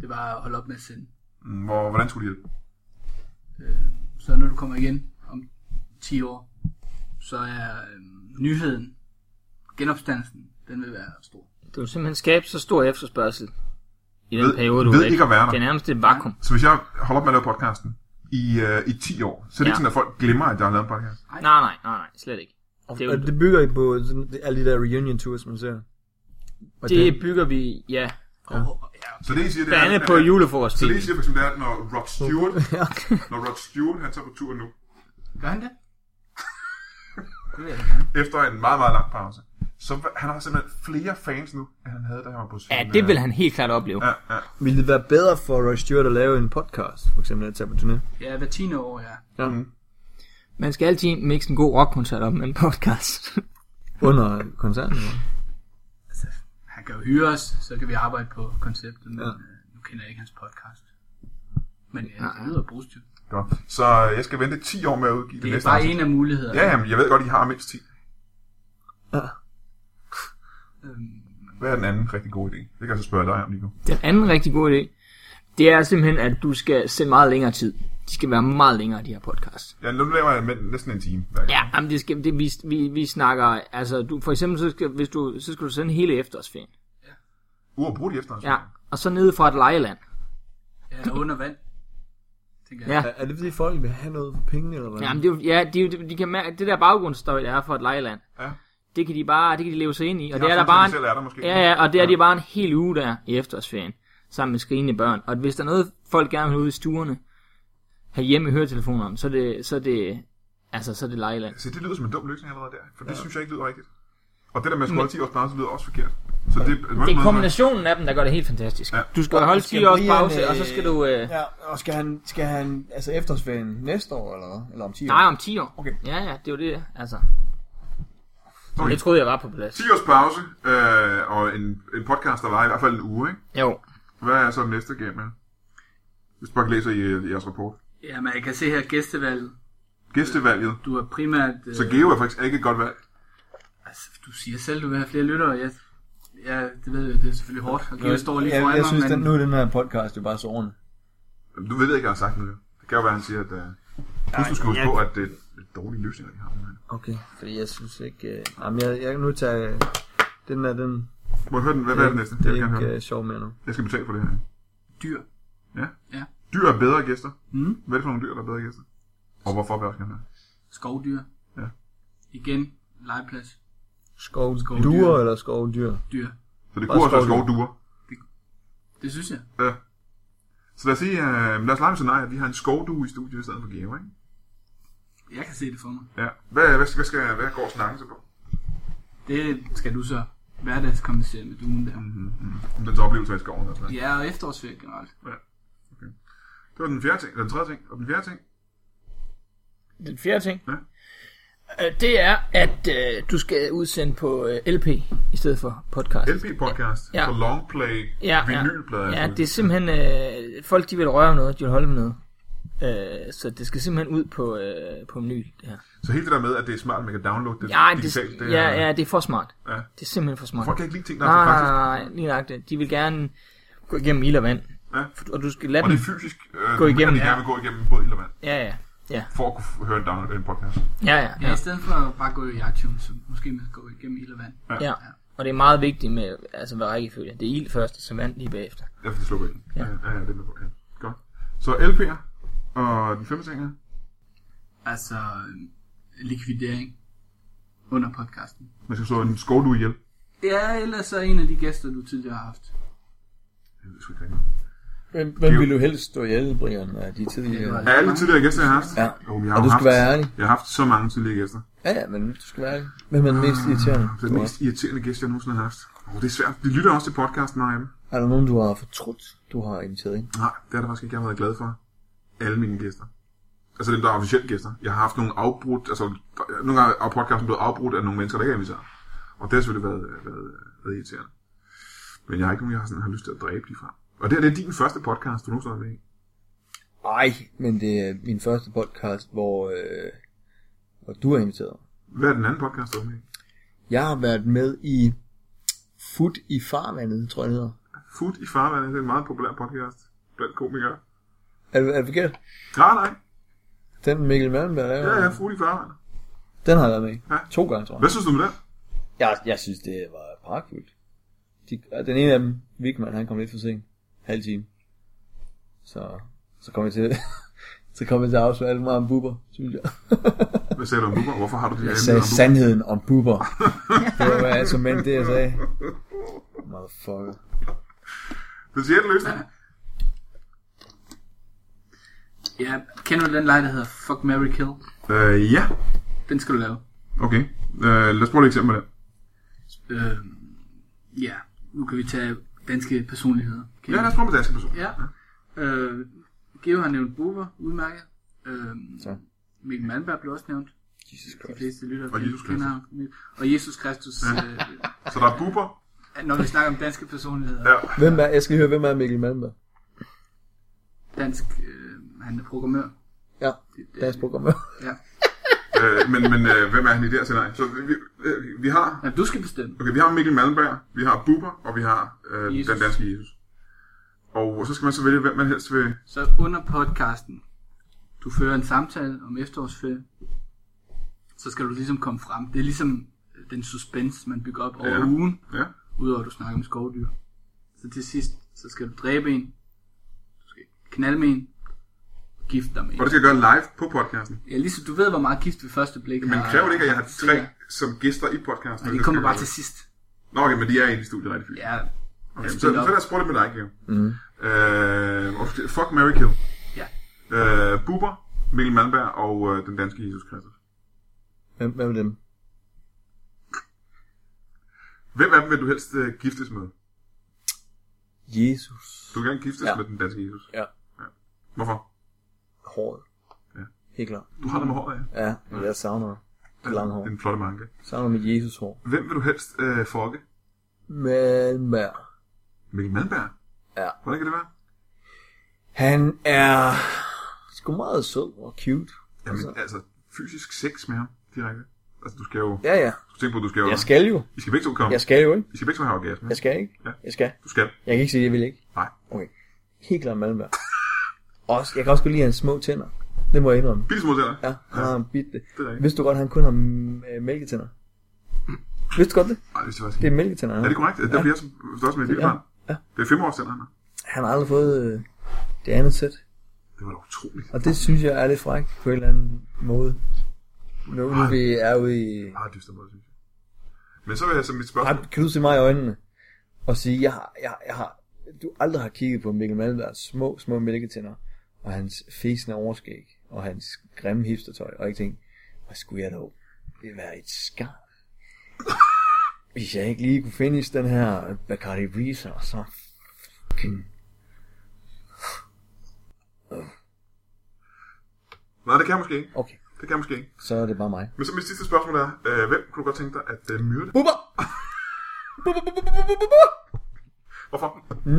S3: det var at holde op med at sende.
S1: Mm, Hvor, hvordan skulle de hjælpe?
S3: Så når du kommer igen om 10 år, så er øh, nyheden, genopstandelsen, den vil være stor.
S4: Du vil simpelthen skabe så stor efterspørgsel i den
S1: Ved-
S4: periode, du
S1: ved
S4: er væk.
S1: ikke at være der.
S4: Det er nærmest et vakuum.
S1: Så hvis jeg holder op med at lave podcasten i, øh, i 10 år, så er det ja.
S4: Ja.
S1: ikke sådan, at folk glemmer, at jeg har lavet en podcast.
S4: Nej, nej, nej, nej, slet ikke.
S2: Og
S4: Det
S2: det,
S4: er jo-
S2: og det bygger I på sådan, det- alle de der reunion tours, man ser. Og
S4: Det
S2: den-
S4: bygger vi, ja,
S3: Ja. Og, og, ja,
S1: Så det, I siger, det
S4: blandt
S1: er...
S4: andet på
S1: at- Så det, I
S4: julefrokosttiden.
S1: siger for eksempel, det er, at når Rod
S4: *laughs*
S1: Stewart,
S2: Ja.
S1: når Rod Stewart, han tager på tur nu,
S3: gør han det? *laughs* det vil jeg da gerne.
S1: efter en meget, meget lang pause, så han har simpelthen flere fans nu, end han havde, da han var på scenen.
S4: Ja, det vil han helt klart opleve.
S1: Ja, ja.
S2: Ville det være bedre for Roy Stewart at lave en podcast, for eksempel at tage på turné? Mm.
S3: Ja, hver 10. år, ja.
S2: Ja.
S4: Man skal altid mixe en god rockkoncert op med en podcast. *laughs*
S2: Under koncerten? eller?
S3: Altså, han kan jo hyre os, så kan vi arbejde på konceptet, men
S2: Ja.
S3: ja. øh, nu kender jeg ikke hans podcast. Men ja, det lyder positivt.
S1: Godt. Så øh, jeg skal vente 10 år med at udgive det,
S3: Det er
S1: næste
S3: bare
S1: afsnit.
S3: en af mulighederne.
S1: Ja, jamen, jeg ved godt, I har mindst 10.
S2: Ja.
S3: Øhm,
S1: Hvad er den anden rigtig god idé? Det kan jeg så spørge dig om, Nico.
S4: Den anden rigtig god idé, det er simpelthen, at du skal sende meget længere tid. De skal være meget længere, de her podcasts.
S1: Ja, nu laver jeg med- næsten en time. hver gang.
S4: Ja, jamen det skal, det, vi, vi, vi snakker, altså du, for eksempel, så skal, hvis du, så skal du sende hele efterårsferien.
S1: Uafbrudt i efterårs.
S4: Ja, og så nede fra et lejeland.
S3: ja, under vand, tænker jeg.
S4: Ja.
S2: Er, er det fordi folk vil have noget for pengene, eller hvad?
S4: Jamen, det, er jo- ja, de, de, de kan mærke, det der baggrundsstøj, der er for et lejeland,
S1: Ja.
S4: det kan de bare, det kan de leve sig ind i. Og
S1: Jeg
S4: det er der
S1: synes,
S4: bare
S1: at de selv er der måske.
S4: Ja, ja, og det er de bare en hel uge der i efterårsferien, sammen med skrigende børn. Og hvis der er noget, folk gerne vil ud i stuerne, have hjemme i høretelefonerne, så er det, så er det, altså, så er det Lejland.
S1: Så det lyder som en dum løsning allerede der, for det ja. synes jeg ikke lyder rigtigt. Og det der med at skulle holde 10 års pause lyder også forkert. Så det,
S4: Det er kombinationen af dem, der gør det helt fantastisk.
S1: Ja.
S4: Du skal holde
S5: Skal
S4: 10 års
S5: Brian,
S4: pause,
S5: øh,
S4: og så skal du... Øh,
S5: Ja, og skal han, skal han altså efterårsferien næste år, eller, hvad? eller om 10 år?
S4: nej, om 10 år.
S5: Okay.
S4: Ja, ja, det er jo det, altså.
S1: Okay.
S4: Det troede jeg var på plads.
S1: 10 års pause, øh, og en, en podcast, der var i hvert fald en uge, ikke?
S4: Jo.
S1: Hvad er så den næste game her? Hvis man læser i, øh, jeres rapport.
S3: Ja, men jeg kan se her gæstevalget.
S1: Gæstevalget.
S3: Du har primært... Øh,
S1: Så Geo er faktisk ikke et godt valg.
S3: altså, du siger selv, du vil have flere lyttere. Jeg, ja, det ved jeg, det er selvfølgelig hårdt. Og Geo står lige
S5: jeg,
S3: foran
S5: jeg
S3: mig,
S5: synes,
S3: men...
S5: den, nu er den her podcast jo bare sårende.
S1: Jamen, Du ved ikke, hvad jeg har sagt nu. jo. Det kan jo være, han siger, at... Øh, Plus, du skal huske på, at det er dårlige løsninger, de har. mand.
S2: Okay, fordi jeg synes ikke... Øh, jamen, jeg, jeg kan nu tage... Øh, den der, den...
S1: Må jeg høre den? Hvad, hvad er det næste?
S2: Det
S1: Jeg vil
S2: er
S1: gerne
S2: ikke
S1: høre.
S2: øh, sjov mere nu.
S1: den. Jeg skal betale for det her.
S3: Dyr.
S1: Ja?
S3: Ja.
S1: Dyr er bedre gæster.
S3: Mm.
S1: Hvad er det for nogle dyr, der er bedre gæster? Og hvorfor vil jeg også gerne have?
S3: Skovdyr.
S1: Ja.
S3: Igen, legeplads.
S2: Skov,
S3: Skovdyr.
S2: duer eller skovdyr?
S3: Dyr.
S1: Så det
S2: Bare
S1: kunne også være
S2: skovdyr.
S1: skovduer.
S3: Det synes jeg.
S1: Ja. Så lad os sige, øh, lad os lege med scenarie, at vi har en skovdue i studiet i stedet for Geo, ikke?
S3: Jeg kan se det for mig.
S1: Ja. Hvad, hvad, hvad, skal, hvad går snakken så på?
S3: Det skal du så hverdagskompensere med duen der.
S1: Om dens Mm. oplevelse af skoven altså. og sådan noget.
S3: Ja, og efterårsferie generelt.
S1: Det var den fjerde ting, eller den tredje ting, og den fjerde ting.
S4: Den fjerde ting,
S1: Ja.
S4: øh, det er, at øh, du skal udsende på øh, LP i stedet for podcast.
S1: LP-podcast ja.
S4: Ja.
S1: på Longplay
S4: Ja, ja.
S1: vinylplader. altså.
S4: Ja, det er simpelthen... Øh, folk, de vil røre ved noget, de vil holde med noget. Øh, så det skal simpelthen ud på, øh, på vinyl, det her.
S1: Så hele det der med, at det er smart, at man kan downloade det
S4: Ja,
S1: digitalt,
S4: det,
S1: det,
S4: ja,
S1: er-
S4: ja, det er for smart.
S1: Ja.
S4: Det er simpelthen for smart.
S1: Folk kan ikke lide ting, der er
S4: nej,
S1: så faktisk.
S4: nej, nej, lige nøjagtigt. De vil gerne gå igennem ild og vand.
S1: Ja.
S4: Og du skal lade
S1: Og det
S4: dem...
S1: er fysisk, øh,
S4: Gå
S1: at
S4: igennem,
S1: de
S4: ja.
S1: gerne vil gå igennem både ild og vand,
S4: Ja, ja.
S1: for at kunne f- høre en, download, en podcast.
S4: Ja, ja,
S3: Ja,
S4: ja.
S3: i stedet for at bare gå i iTunes, så måske man skal gå igennem ild og vand.
S4: ja. Og det er meget vigtigt med, altså hvad rækkefølge. Det er ild først, og så vand lige bagefter.
S1: Ja, for det slukker ind. Ja.
S4: Ja.
S1: ja, ja, det er med på. Ja. Godt. Så LP'er og den femte ting er,
S3: Altså, øh, likvidering under podcasten.
S1: man skal slå en skovdue ihjel.
S3: Det er ellers så en af de gæster, du tidligere har haft.
S1: Jeg ved sgu ikke rigtigt.
S5: Hvem, hvem
S1: Jo.
S5: vil du helst stå ihjel, Brian, af de tidligere?
S1: Er alle tidligere gæster, jeg har haft?
S5: Ja.
S1: Jo, men jeg har
S5: Og
S1: jo
S5: du
S1: haft,
S5: skal være ærlig.
S1: Jeg har haft så mange tidligere gæster.
S5: Ja, ja, men du skal være ærlig. Hvem er den mest irriterende?
S1: Den
S5: Du
S1: mest irriterende gæst, jeg nogensinde har haft. Oh, det er svært. De lytter også til podcasten, mange af dem.
S5: har? Er der nogen, du har fortrudt, du har inviteret ind?
S1: Nej, det er der faktisk ikke. Jeg har været glad for alle mine gæster. Altså dem, der er officielt gæster. Jeg har haft nogle afbrudt, altså der- nogle gange er podcasten blevet afbrudt af nogle mennesker, der ikke er inviteret. Og det har selvfølgelig været, øh, været, været irriterende. Men jeg har ikke nogen, jeg har, sådan, har lyst til at dræbe de fra. Og det, her, det er din første podcast, du nogensinde har været i.
S5: Nej, men det er min første podcast, hvor, øh, hvor du er inviteret.
S1: Hvad er den anden podcast, du har været med i?
S5: Jeg har været med i Food i farvandet, tror jeg det hedder.
S1: Food i farvandet, det er en meget populær podcast blandt komikere.
S5: Er, det- er det forkert?
S1: Nej, nej.
S5: Den Mikkel Malmberg
S1: Ja,
S5: laver,
S1: ja, Food i farvandet.
S5: den har jeg været med i.
S1: Ja.
S5: To gange, tror jeg.
S1: Hvad synes du om det?
S5: Jeg, jeg synes, det var pragtfuldt. De, og den ene af dem, Vigman, han kom lidt for sent. Halv time. Så, så kom jeg til, *laughs* så kom jeg til at afsløre alt for meget om buber, synes jeg.
S1: Hvad sagde du om Bubber? Hvorfor har du det
S5: Jeg
S1: her
S5: sagde
S1: emne om
S5: sandheden om buber. Det var hvad jeg så mente, det jeg sagde. Motherfucker.
S1: Bubber? Den sjette løsning.
S3: Ja, kender du den leg, der hedder Fuck, Mary Kill?
S1: Øh, ja.
S3: Den skal du lave.
S1: Okay. Øh, lad os prøve et eksempel der.
S3: Øh, ja, nu kan vi tage danske personligheder. Kan
S1: Ja, lad os prøve med danske personer.
S3: Ja. Øh, Geo har nævnt Bubber, udmærket. Øh,
S5: Så.
S3: Mikkel Malmberg blev også nævnt.
S5: Jesus
S3: De
S5: Christ.
S3: fleste lytter
S1: Og Jesus Kristus.
S3: Og Jesus Kristus. Øh,
S1: Så der er Bubber.
S3: når vi snakker om danske personligheder.
S1: Ja.
S5: Hvem er, jeg skal lige høre, hvem er Mikkel Malmberg?
S3: Dansk, øh, han er programmør.
S5: Ja, deres programmør.
S3: Ja.
S1: øh, men men øh, hvem er han i det her scenarie? Så vi, øh, vi har...
S3: ja, du skal bestemme.
S1: Okay, vi har Mikkel Malmberg, vi har Bubber, og vi har øh,
S3: Jesus.
S1: den danske Jesus. Og så skal man så vælge, hvem man helst vil...
S3: Så under podcasten, du fører en samtale om efterårsferie, så skal du ligesom komme frem. Det er ligesom øh, den suspense, man bygger op over
S1: Ja.
S3: ja. ugen,
S1: Ja.
S3: udover at du snakker om skovdyr. Så til sidst, så skal du dræbe en, du skal knalde med en, og gifte dig med en.
S1: Og det skal jeg gøre live på podcasten.
S3: Ja, ligesom du ved, hvor meget gift ved første blik
S1: Men
S3: har-
S1: kræver det ikke, at jeg har tre
S3: Ja.
S1: som gæster i podcasten?
S3: Nej, det kommer bare til sidst.
S1: Nå, okay, men de er inde i studiet rigtig fint.
S3: Ja,
S1: Okay,
S3: jeg
S2: altså,
S1: så, så
S3: stiller op.
S1: lad os prøve det med dig, Geo. Mm. Øh, og fuck Mary Kill.
S3: ja.
S1: Øh, Bubber, Mikkel Malmberg og øh, den danske Jesus Kristus.
S5: Hvem, hvem er dem?
S1: Hvem af dem vil du helst øh, giftes med?
S2: Jesus.
S1: Du kan gerne giftes ja.
S2: Ja.
S1: med den danske Jesus.
S2: Ja.
S1: Hvorfor?
S2: Håret.
S1: Ja.
S2: Helt klart.
S1: Du har det med håret af.
S2: Ja, men jeg savner det lange hår.
S1: Den flotte manke.
S2: Savner mit Jesus hår.
S1: Hvem vil du helst øh, fokke?
S2: Malmær.
S1: Mikkel Malmberg?
S2: Ja.
S1: Hvordan kan det være?
S2: Han er sgu meget sød og cute.
S1: Jamen, altså, altså fysisk sex med ham direkte. Altså, du skal jo...
S2: Ja, ja.
S1: Du tænker på, at du skal jo...
S2: Jeg skal jo.
S1: I skal begge to komme.
S2: Jeg skal jo ikke.
S1: I skal begge to have orgasme.
S2: Jeg skal ikke.
S1: Ja.
S2: Jeg skal.
S1: Du skal.
S2: Jeg kan ikke sige, at jeg vil ikke.
S1: Nej.
S2: Okay. Helt klart Malmberg. Også, jeg kan også godt lide hans små tænder. Det må jeg indrømme.
S1: Billig små tænder.
S2: Ja, han har en bitte.
S1: er rigtigt.
S2: Vidste du godt, at han kun har m- øh, mælketænder? Vidste du godt det?
S1: Ej, det er faktisk
S2: Det er mælketænder, han
S1: Er
S2: har.
S1: det korrekt? Ja. Det bliver som, størst med et lille
S2: Ja.
S1: barn.
S2: Ja.
S1: Det er fem år siden, han er.
S2: Han har aldrig fået øh, det andet sæt.
S1: Det var da utroligt.
S2: Og det synes jeg er lidt frækt på en eller anden måde. Nu, nu vi er ude i...
S1: Ah, dyster måde, synes jeg. Men så vil jeg så mit spørgsmål.
S2: Ej, Kan du se mig i øjnene og sige, jeg har, jeg, jeg har, du aldrig har kigget på Mikkel Malmbergs små, små mælketænder, og hans fæsende overskæg, og hans grimme hipstertøj, og ikke tænkt, hvad skulle jeg dog? Det ville være et skam. Hvis jeg ikke lige kunne finish den her Bacardi Breezer, så fucking...
S1: Nej, det kan jeg måske ikke.
S2: Okay,
S1: Det kan jeg måske ikke.
S2: så er det bare mig.
S1: Men så mit sidste spørgsmål er, øh, hvem kunne du godt tænke dig at øh, myrde?
S2: Bubber! Bubber, bubber, bubber, bubber, bubber!
S1: Hvorfor?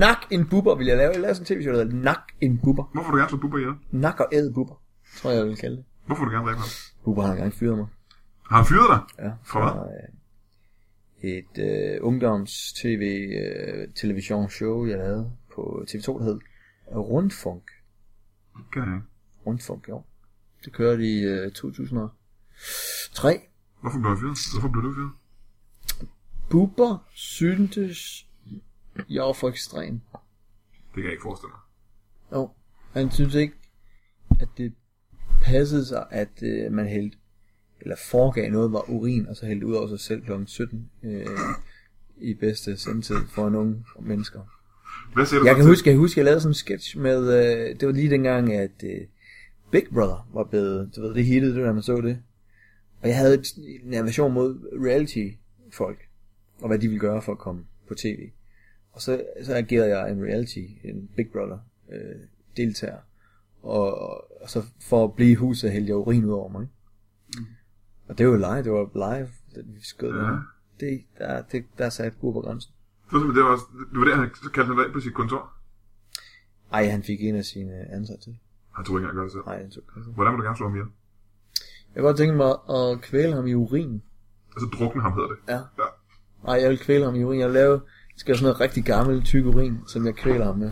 S2: Nak en bubber vil jeg lave. Jeg laver sådan en tv-show, der hedder Nak en bubber.
S1: Hvorfor vil du gerne slå Bubber ihjel?
S2: Nak og æd bubber, tror jeg, jeg vil kalde det.
S1: Hvorfor vil du gerne dræbe ham?
S2: Bubber har engang fyret mig.
S1: Har han fyret dig?
S2: Ja,
S1: Fra hvad?
S2: øh, et øh, ungdoms-tv-televisionsshow, øh, jeg lavede på TV2, der hed Rundfunk.
S1: Kan han ikke.
S2: Rundfunk, jo. Det kørte i øh, 2003.
S1: Hvorfor blev han fyret? Hvorfor blev du fyret?
S2: Bubber syntes, jeg var for ekstrem.
S1: Det kan jeg ikke forestille mig.
S2: Jo, han syntes ikke, at det passede sig, at øh, man hældte, eller foregav noget, var urin, og så hældte ud over sig selv kl. 17 øh, i bedste sendtid for nogle mennesker.
S1: Hvad siger du
S2: Jeg
S1: så
S2: kan
S1: til-
S2: huske, jeg husker, jeg lavede sådan en sketch med, øh, det var lige dengang, at øh, Big Brother var blevet, du ved, det hittede, det var, da man så det. Og jeg havde et- en aversion mod reality-folk, og hvad de ville gøre for at komme på tv. Og så, så agerede jeg en reality, en Big Brother-deltager. og, og så for at blive i huset, hældte jeg urin ud over mig. ikke? Og det var jo live, det var live, det vi skød ja. det, der, det, der satte god på grænsen.
S1: Det var, simpelthen- det var, også- det var der, han så kaldte han dig ind på sit kontor.
S2: Ej, han fik en af sine ansatte til.
S1: Han troede ikke engang at gøre det selv.
S2: Nej, han tog grænsen.
S1: Hvordan vil du gerne slå ham ihjel?
S2: Jeg kunne godt tænke mig at kvæle ham i urin.
S1: Altså drukne ham hedder det.
S2: Ja.
S1: ja.
S2: Nej, jeg vil kvæle ham i urin. Jeg vil lave, jeg skal have sådan noget rigtig gammel, tyk urin, som jeg kvæler ham med.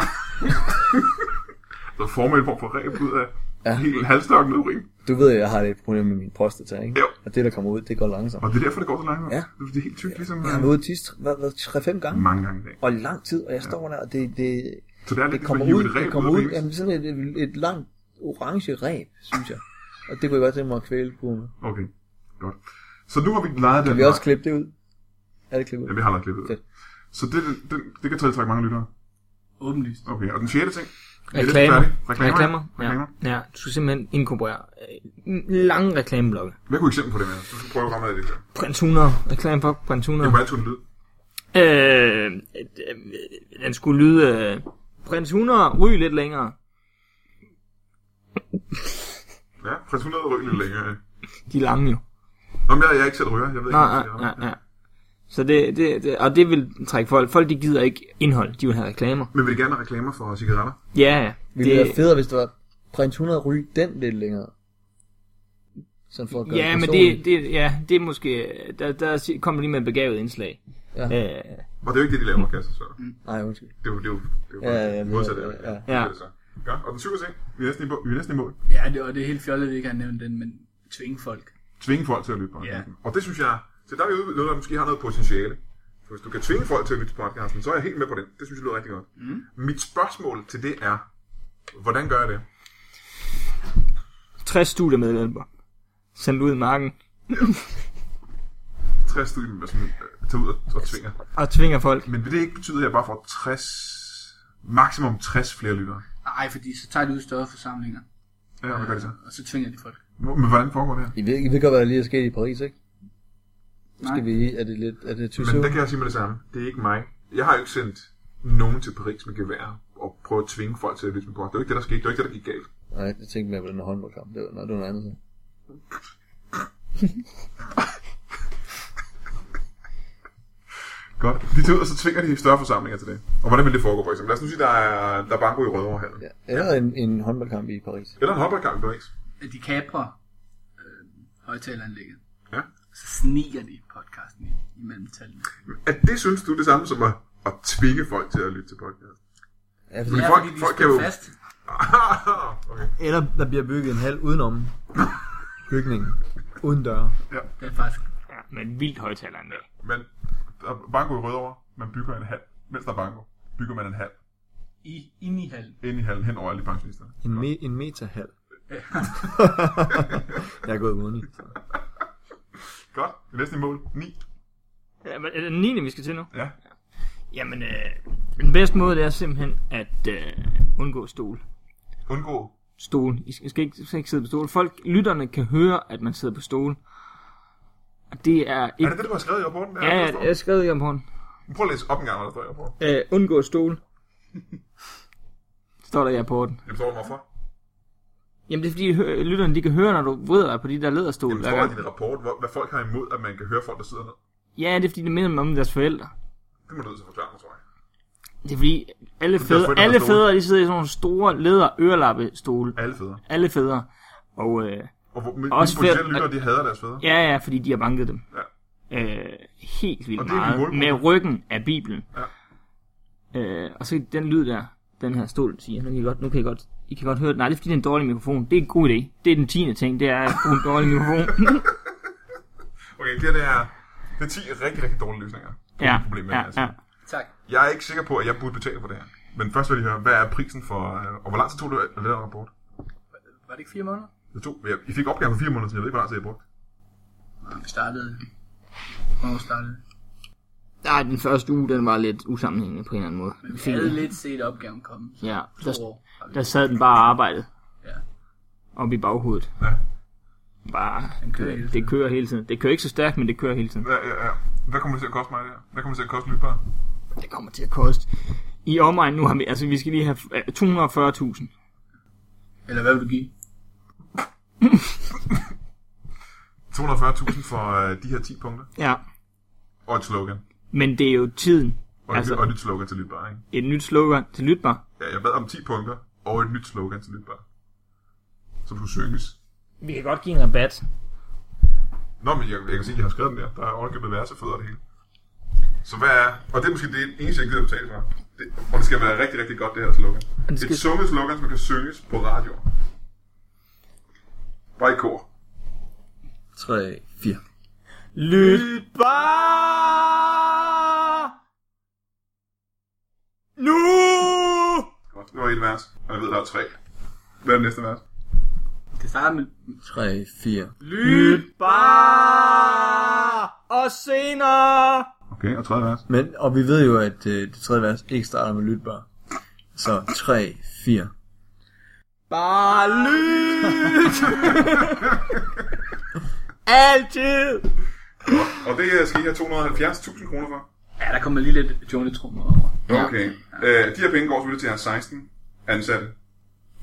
S1: Så former en form for ræb ud af ja.
S2: Ja.
S1: helt halvstokken urin.
S2: Du ved, jeg har lidt problem med min prostata, ikke?
S1: Jo.
S2: Og det, der kommer ud, det går langsomt.
S1: Og det er derfor, det går så langt.
S2: Ja.
S1: Det er helt tykt, ligesom
S2: Jeg har
S1: øh,
S2: været ude tisse, hvad, hvad, 3-5 gange.
S1: mange gange i dag.
S2: Og lang tid, og jeg står der, og det, det,
S1: Så det er lidt
S2: det
S1: ligesom
S2: kommer
S1: at hive
S2: ud,
S1: et ræb
S2: det kommer ud.
S1: af penis.
S2: Jamen, sådan et, et, et langt orange ræb, synes jeg. Og det kunne jeg godt tænke mig at kvæle på med.
S1: Okay, godt. Så nu har vi lejet den.
S2: Kan vi også klippe det ud? Er det klippet
S1: Ja,
S2: ud?
S1: vi har lagt klippet.
S2: Fedt.
S1: Så det, den, den- det kan tiltrække mange lyttere.
S3: Åbenlyst.
S1: Okay, og den sjette ting. Vi er lidt
S4: Reklamer.
S1: færdige. Reklamer.
S4: Reklamer.
S1: Reklamer.
S4: Ja. ja, du skal simpelthen inkorporere øh, lange reklameblokke.
S1: Hvad kunne eksempel på det med? Du skal prøve at ramme af det. Det
S4: Prins 100. Reklame for Prins 100.
S1: er bare altid en lyd.
S4: Øh, øh, øh, den skulle lyde... Øh, Prins 100, ryg lidt længere.
S1: Ja, prins 100 ryger lidt længere. ja.
S4: De er lange jo.
S1: Nå, men jeg, jeg er ikke selv ryger. Jeg ved ikke,
S4: Nej,
S1: om jeg
S4: nej,
S1: skal
S4: nej,
S1: gøre det.
S4: nej. Så det, det, det, og det vil trække folk. Folk, de gider ikke indhold. De vil have reklamer.
S1: Men vil I gerne have reklamer for cigaretter?
S4: Ja, ja.
S2: Det ville være federe, hvis det var prins 100 ryg den lidt længere. Sådan for at gøre
S4: Ja, men
S2: personligt.
S4: det, det, ja, det er måske... Der, der kommer lige med et begavet indslag.
S2: Ja.
S4: Øh,
S1: Og det er jo ikke det, de laver, kan jeg så svare.
S2: Nej, undskyld.
S1: Det er jo, det er jo, det er jo
S2: Ja, ja, ja,
S1: ja, modsat af det.
S2: ja.
S1: Det er det så. Godt, og den syvende ting. Vi er næsten i, mål- vi er næsten i mål.
S3: Ja, det, og det er helt fjollet, at vi ikke har nævnt den, men tvinge folk.
S1: Tvinge folk til at lytte på podcasten.
S3: Ja.
S1: Og det synes jeg, så der er vi ude ved noget, der måske har noget potentiale. For hvis du kan tvinge folk til at lytte på podcasten, så er jeg helt med på den. Det synes jeg lyder rigtig godt. Mm. Mit spørgsmål til det er, hvordan gør jeg det?
S4: 60 studiemedlemmer. Sendt ud i marken.
S1: 60 studier, som øh, tager ud og, og tvinger.
S4: Og tvinger folk.
S1: Men vil det ikke betyde, at jeg bare får 60, maksimum 60 flere lyttere?
S3: Nej, fordi så tager de ud i større forsamlinger,
S1: Ja, hvad gør det så?
S3: og så tvinger de folk.
S1: Hvor- Men hvordan foregår det her?
S2: I ved, I ved godt, hvad der lige er sket i Paris, ikke?
S5: Skal vi, er det lidt, er det too
S1: Men
S5: soon?
S1: der kan jeg sige med det samme. Det er ikke mig. Jeg har jo ikke sendt nogen til Paris med gevær og prøvet at tvinge folk til at lytte på. Det var ikke det, der skete. Det var ikke det, der gik galt.
S5: Nej, jeg tænkte mere på den her håndboldkamp. Det var, nej, det var noget andet.
S1: Godt. De tager ud, og så tvinger de større forsamlinger til det. Og hvordan vil det foregå, for eksempel? Lad os nu sige, der er, der er banko i Rødovrehallen. Ja.
S5: Ja. Eller en, en håndboldkamp i Paris.
S1: Eller en håndboldkamp i Paris.
S3: at de kaprer øh, højtaleranlægget.
S1: Ja.
S3: Så sniger de podcasten ind imellem tallene.
S1: At det synes du er det samme som at, at tvinge folk til at lytte til podcast. *laughs*
S5: Ja, fordi,
S1: Men
S3: Ja,
S1: folk-
S3: fordi de
S1: folk
S3: står
S1: kan jo-
S3: fast.
S1: okay.
S2: Eller der bliver bygget en halv udenom bygningen. Uden døre.
S3: Det er faktisk...
S4: Ja, men vildt højtalerende.
S1: Men der er banko i Rødovre. Man bygger en halv. Mens der er banko, bygger man en halv.
S3: I, inde i hallen.
S1: Ind i hallen, hen over alle de pensionisterne.
S2: En, me, en metahal. *laughs* jeg er gået måned.
S1: Godt. Vi er næsten i mål. 9.
S4: Ja, men er det den 9. vi skal til nu?
S1: Ja.
S4: Jamen, øh, den bedste måde, det er simpelthen at øh, undgå stol.
S1: Undgå
S4: Stol. I skal skal ikke, skal ikke sidde på stol. Folk, lytterne kan høre, at man sidder på stol. Og det er
S1: Er
S4: ikke...
S1: det det, du har skrevet i rapporten? Der?
S4: Ja, ja, jeg skrev det om hånden.
S1: Prøv at læse op en gang, hvad der står i rapporten.
S4: Øh, undgå stol. Står der i rapporten.
S1: Jeg forstår, hvorfor.
S4: Jamen, det er fordi, hø- lytterne de kan høre, når du vrider dig på de der
S1: Jeg
S4: læderstol.
S1: forstår i din rapport, hvor, hvad folk har imod, at man kan høre folk, der sidder ned.
S4: Ja, det er fordi, det minder mig om deres forældre.
S1: Det må du nødt til at forklare mig, tror jeg.
S4: Det er fordi, alle fædre,
S1: forældre, der
S4: alle
S1: er
S4: fædre de sidder i sådan nogle store læder ørelappestole.
S1: Alle fædre.
S4: Alle fædre. Og øh,
S1: Og hvor, mine
S4: Også
S1: potentielle
S4: fædre-
S1: lyttere, de hader deres fædre.
S4: ja, ja, fordi de har banket dem. Ja. Øh, helt vildt
S1: Og det er din
S4: meget.
S1: målgruppe.
S4: Med ryggen af Bibelen. Ja. Øh, og så den lyd der, den her stol siger, nu kan I godt, nu kan I godt, I kan godt høre det. Nej, det er fordi, det er en dårlig mikrofon. Det er en god idé. Det er den tiende ting, det er at bruge en dårlig
S1: *laughs*
S4: mikrofon.
S1: Okay, det her det er, det er 10 rigtig, rigtig dårlige løsninger. på
S4: ja,
S1: mit problem med det,
S4: ja,
S1: altså.
S4: ja.
S3: Tak.
S1: Jeg er ikke sikker på, at jeg burde betale for det her. Men først vil jeg høre, hvad er prisen for... øh, Og hvor lang tid tog du at lave den rapport?
S3: Var det ikke fire måneder?
S1: Det tog, jeg, I fik opgaven for fire måneder siden, jeg ved ikke, hvor lang tid jeg brugte.
S3: Nej, vi startede... Hvornår startede vi?
S4: Nej, den første uge, den var lidt usammenhængende på en eller anden måde.
S3: Men vi
S4: Fint.
S3: havde lidt set opgaven komme. Så
S4: Ja,
S3: to
S4: der,
S3: år har vi.
S4: der sad den bare og arbejdede.
S3: Ja.
S4: Oppe i baghovedet.
S1: Ja.
S4: Bare,
S3: Den kører hele
S4: det,
S3: tiden.
S4: det kører hele tiden. Det kører ikke så stærkt, men det kører hele tiden.
S1: Ja, ja, ja. Hvad kommer det til at koste mig det her? Hvad kommer det til at koste lyttere?
S4: Det kommer til at koste. I omegn nu har vi, altså vi skal lige have øh, 240.000.
S3: Eller hvad vil du give?
S1: 240.000 for øh, de her 10 punkter.
S4: Ja,
S1: Og et slogan.
S4: men det er jo tiden.
S1: Og, altså,
S4: Altså-
S1: et, og et nyt slogan til lyttere, ikke?
S4: Et nyt slogan til Lytbar.
S1: Ja, jeg bad om 10 punkter og et nyt slogan til lytbar. Som skulle synges.
S4: Vi kan godt give en rabat.
S1: Nå, men jeg, jeg kan sige, at jeg har skrevet den der. Der er overkøbet værsefødder og det hele. Så hvad er... Og det er måske det eneste, jeg gider betale for. Det, og det skal være rigtig, rigtig godt, det her slogan.
S4: det
S1: Skal...
S4: skal-
S1: Et sunget slogan, som kan synges på radio. Bare i kor.
S2: 3, 4.
S4: Lytbar! Nu!
S1: Godt. Det var et vers, og jeg ved, der er tre. Hvad er det næste vers?
S3: Det starter med...
S2: 3, 4.
S4: Lytbar! Og senere!
S1: Okay, og tredje vers.
S2: Men, og vi ved jo, at øh, det tredje vers ikke starter med lytbar. Så 3, 4.
S4: Bare lyt! Altid!
S1: Og det øh, skal I have 270.000 kroner for.
S3: Ja, der kommer lige lidt jungletrummer over.
S1: Okay. Øh, de her penge går selvfølgelig til jeres 16 ansatte.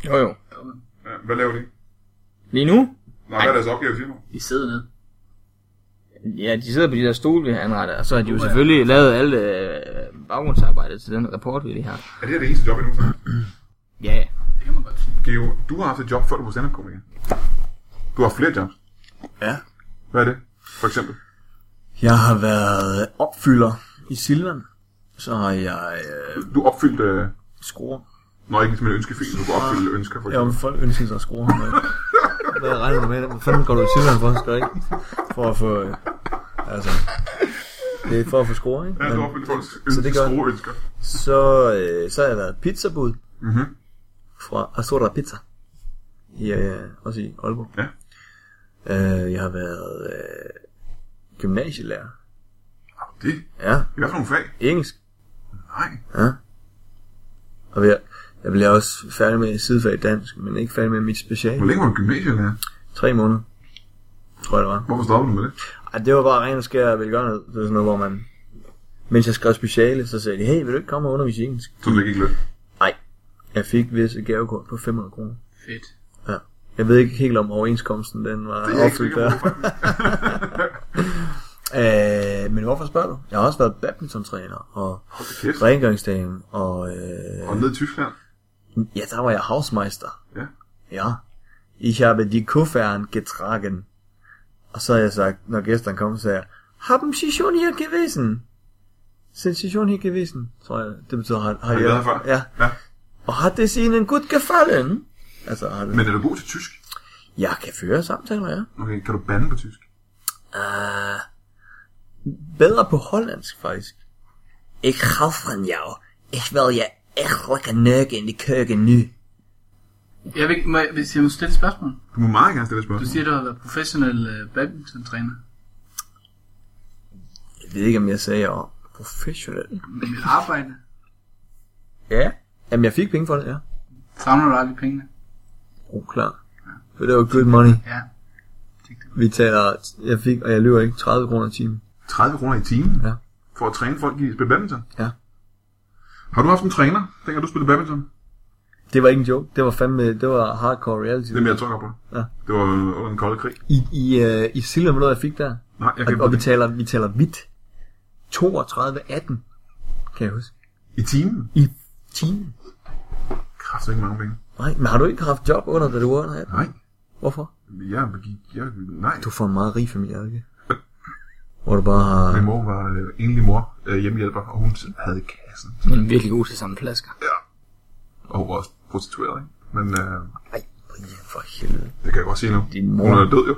S4: Jo jo.
S1: Ja, hvad laver de?
S4: Lige nu?
S1: Nå, hvad er deres opgave i firmaet?
S3: De sidder ned.
S4: Ja, de sidder på de der stole, vi har anrettet, og så har de jo selvfølgelig lavet alt øh, baggrundsarbejdet til den rapport, vi lige har.
S1: Er det her det eneste job, I nogensinde har?
S4: Ja, ja.
S3: Det kan man godt sige.
S1: Geo, du har haft et job, før du var stand komiker Du har haft flere jobs.
S2: Ja.
S1: Hvad er det? For eksempel.
S2: Jeg har været opfylder i Silvan. Så har jeg øh,
S1: Du opfyldte... Øh,
S2: skruer.
S1: når ikke ligesom en ønskefil, du kunne opfylde ønsker, for
S2: Ja,
S1: eksempel.
S2: men folk ønsker sig at skrue ham. ikke? *laughs* Hvad regner du med? Hvad fanden går du i Silvan for? Skal du ikke? For at få... Øh, altså... Det er for at få skruer, ikke?
S1: Ja, du
S2: Men,
S1: opfyldte folks
S2: Så det gør-
S1: ønsker, ønsker.
S2: så, øh, så har jeg været pizzabud
S1: Mhm.
S2: fra Astora Pizza. I, øh, også i Aalborg.
S1: Ja.
S2: Øh, jeg har været øh, gymnasielærer.
S1: Det?
S2: Ja,
S1: I hvert fald nogle fag?
S2: engelsk.
S1: Nej.
S2: Ja. Og jeg, jeg blev også færdig med sidefag i dansk, men ikke færdig med mit
S1: Hvor
S2: speciale.
S1: længe var du gymnasielærer?
S2: Tre måneder, tror jeg det var.
S1: Hvorfor stoppede du med det?
S2: Ej, Ja, det var bare ren og skær velgørenhed. Det var sådan noget, hvor man... Mens jeg skrev speciale, så sagde de, hey, vil du ikke komme og undervise i engelsk?
S1: Så det gik løn.
S2: Jeg fik vist et gavekort på 500 kroner.
S3: Fedt.
S2: Jeg ved ikke helt om overenskomsten, den var
S1: Det er jeg ikke
S2: opfyldt
S1: sikker
S2: der.
S1: på,
S2: Øh, men hvorfor spørger du? Jeg har også været badmintontræner, og
S1: Kæft.
S2: rengøringsdame, og... Øh,
S1: Og ned i Tyskland.
S2: ja, der var jeg housemeister.
S1: Ja.
S2: Ja. Ich habe die Kuffern getragen. Og så har jeg sagt, når gæsterne kom, så sagde jeg, Haben Sie schon hier gewesen? Sind Sie schon hier gewesen? Tror jeg, det betyder, har, har
S1: I været her før?
S2: Ja.
S1: Ja.
S2: Og hat es Ihnen gut gefallen? Altså, har det...
S1: Men er du god til tysk?
S2: Jeg kan føre samtaler, ja.
S1: Okay, kan du bande på tysk?
S2: Uh, bedre på hollandsk, faktisk. Ik hou van jou. Ik wil je echt lekker nøkken in de køkken nu.
S3: Jeg vil, ikke- må, jeg- hvis jeg må stille et spørgsmål.
S1: Du må meget gerne stille et
S3: Du
S1: spørgsmål.
S3: siger, du har været professionel øh, badmintontræner.
S2: Jeg ved ikke, om jeg sagde, jeg var professionel.
S3: Men mit arbejde,
S2: Ja. Jamen, jeg fik penge for det, ja.
S3: savner du aldrig pengene?
S2: Oh, klar. For det var good money.
S3: Ja.
S2: Vi tager, jeg fik, og jeg løber ikke, 30 kroner i timen.
S1: 30 kroner i timen?
S2: Ja.
S1: For at træne folk i at spille badminton?
S2: Ja.
S1: Har du haft en træner, dengang du spillede badminton?
S2: Det var ikke en joke. Det var fandme, det var hardcore reality.
S1: Det er mere tungt på.
S2: Ja.
S1: Det var under den kolde krig.
S2: I, i, øh, i Silva, ved du, hvad jeg fik der?
S1: Nej, jeg kan
S2: Og, og vi
S1: ikke
S2: taler, vi taler hvidt. 32,18, kan jeg huske.
S1: I timen?
S2: I timen.
S1: Kræft, ikke mange penge.
S2: Nej, men har du ikke haft job under, da du var under 18?
S1: Nej.
S2: Hvorfor?
S1: Jeg, jeg, jeg nej.
S2: Du får en meget rig familie, er det ikke? Hvor du bare har...
S1: Min mor var øh, enlig mor, øh, hjemmehjælper, og hun havde kassen.
S4: Men virkelig god til samme flasker.
S1: Og hun var også prostitueret, ikke? Men øh,
S2: Ej, Brian, for helvede.
S1: det kan jeg godt sige nu.
S4: Din mor.
S1: Hun er død jo.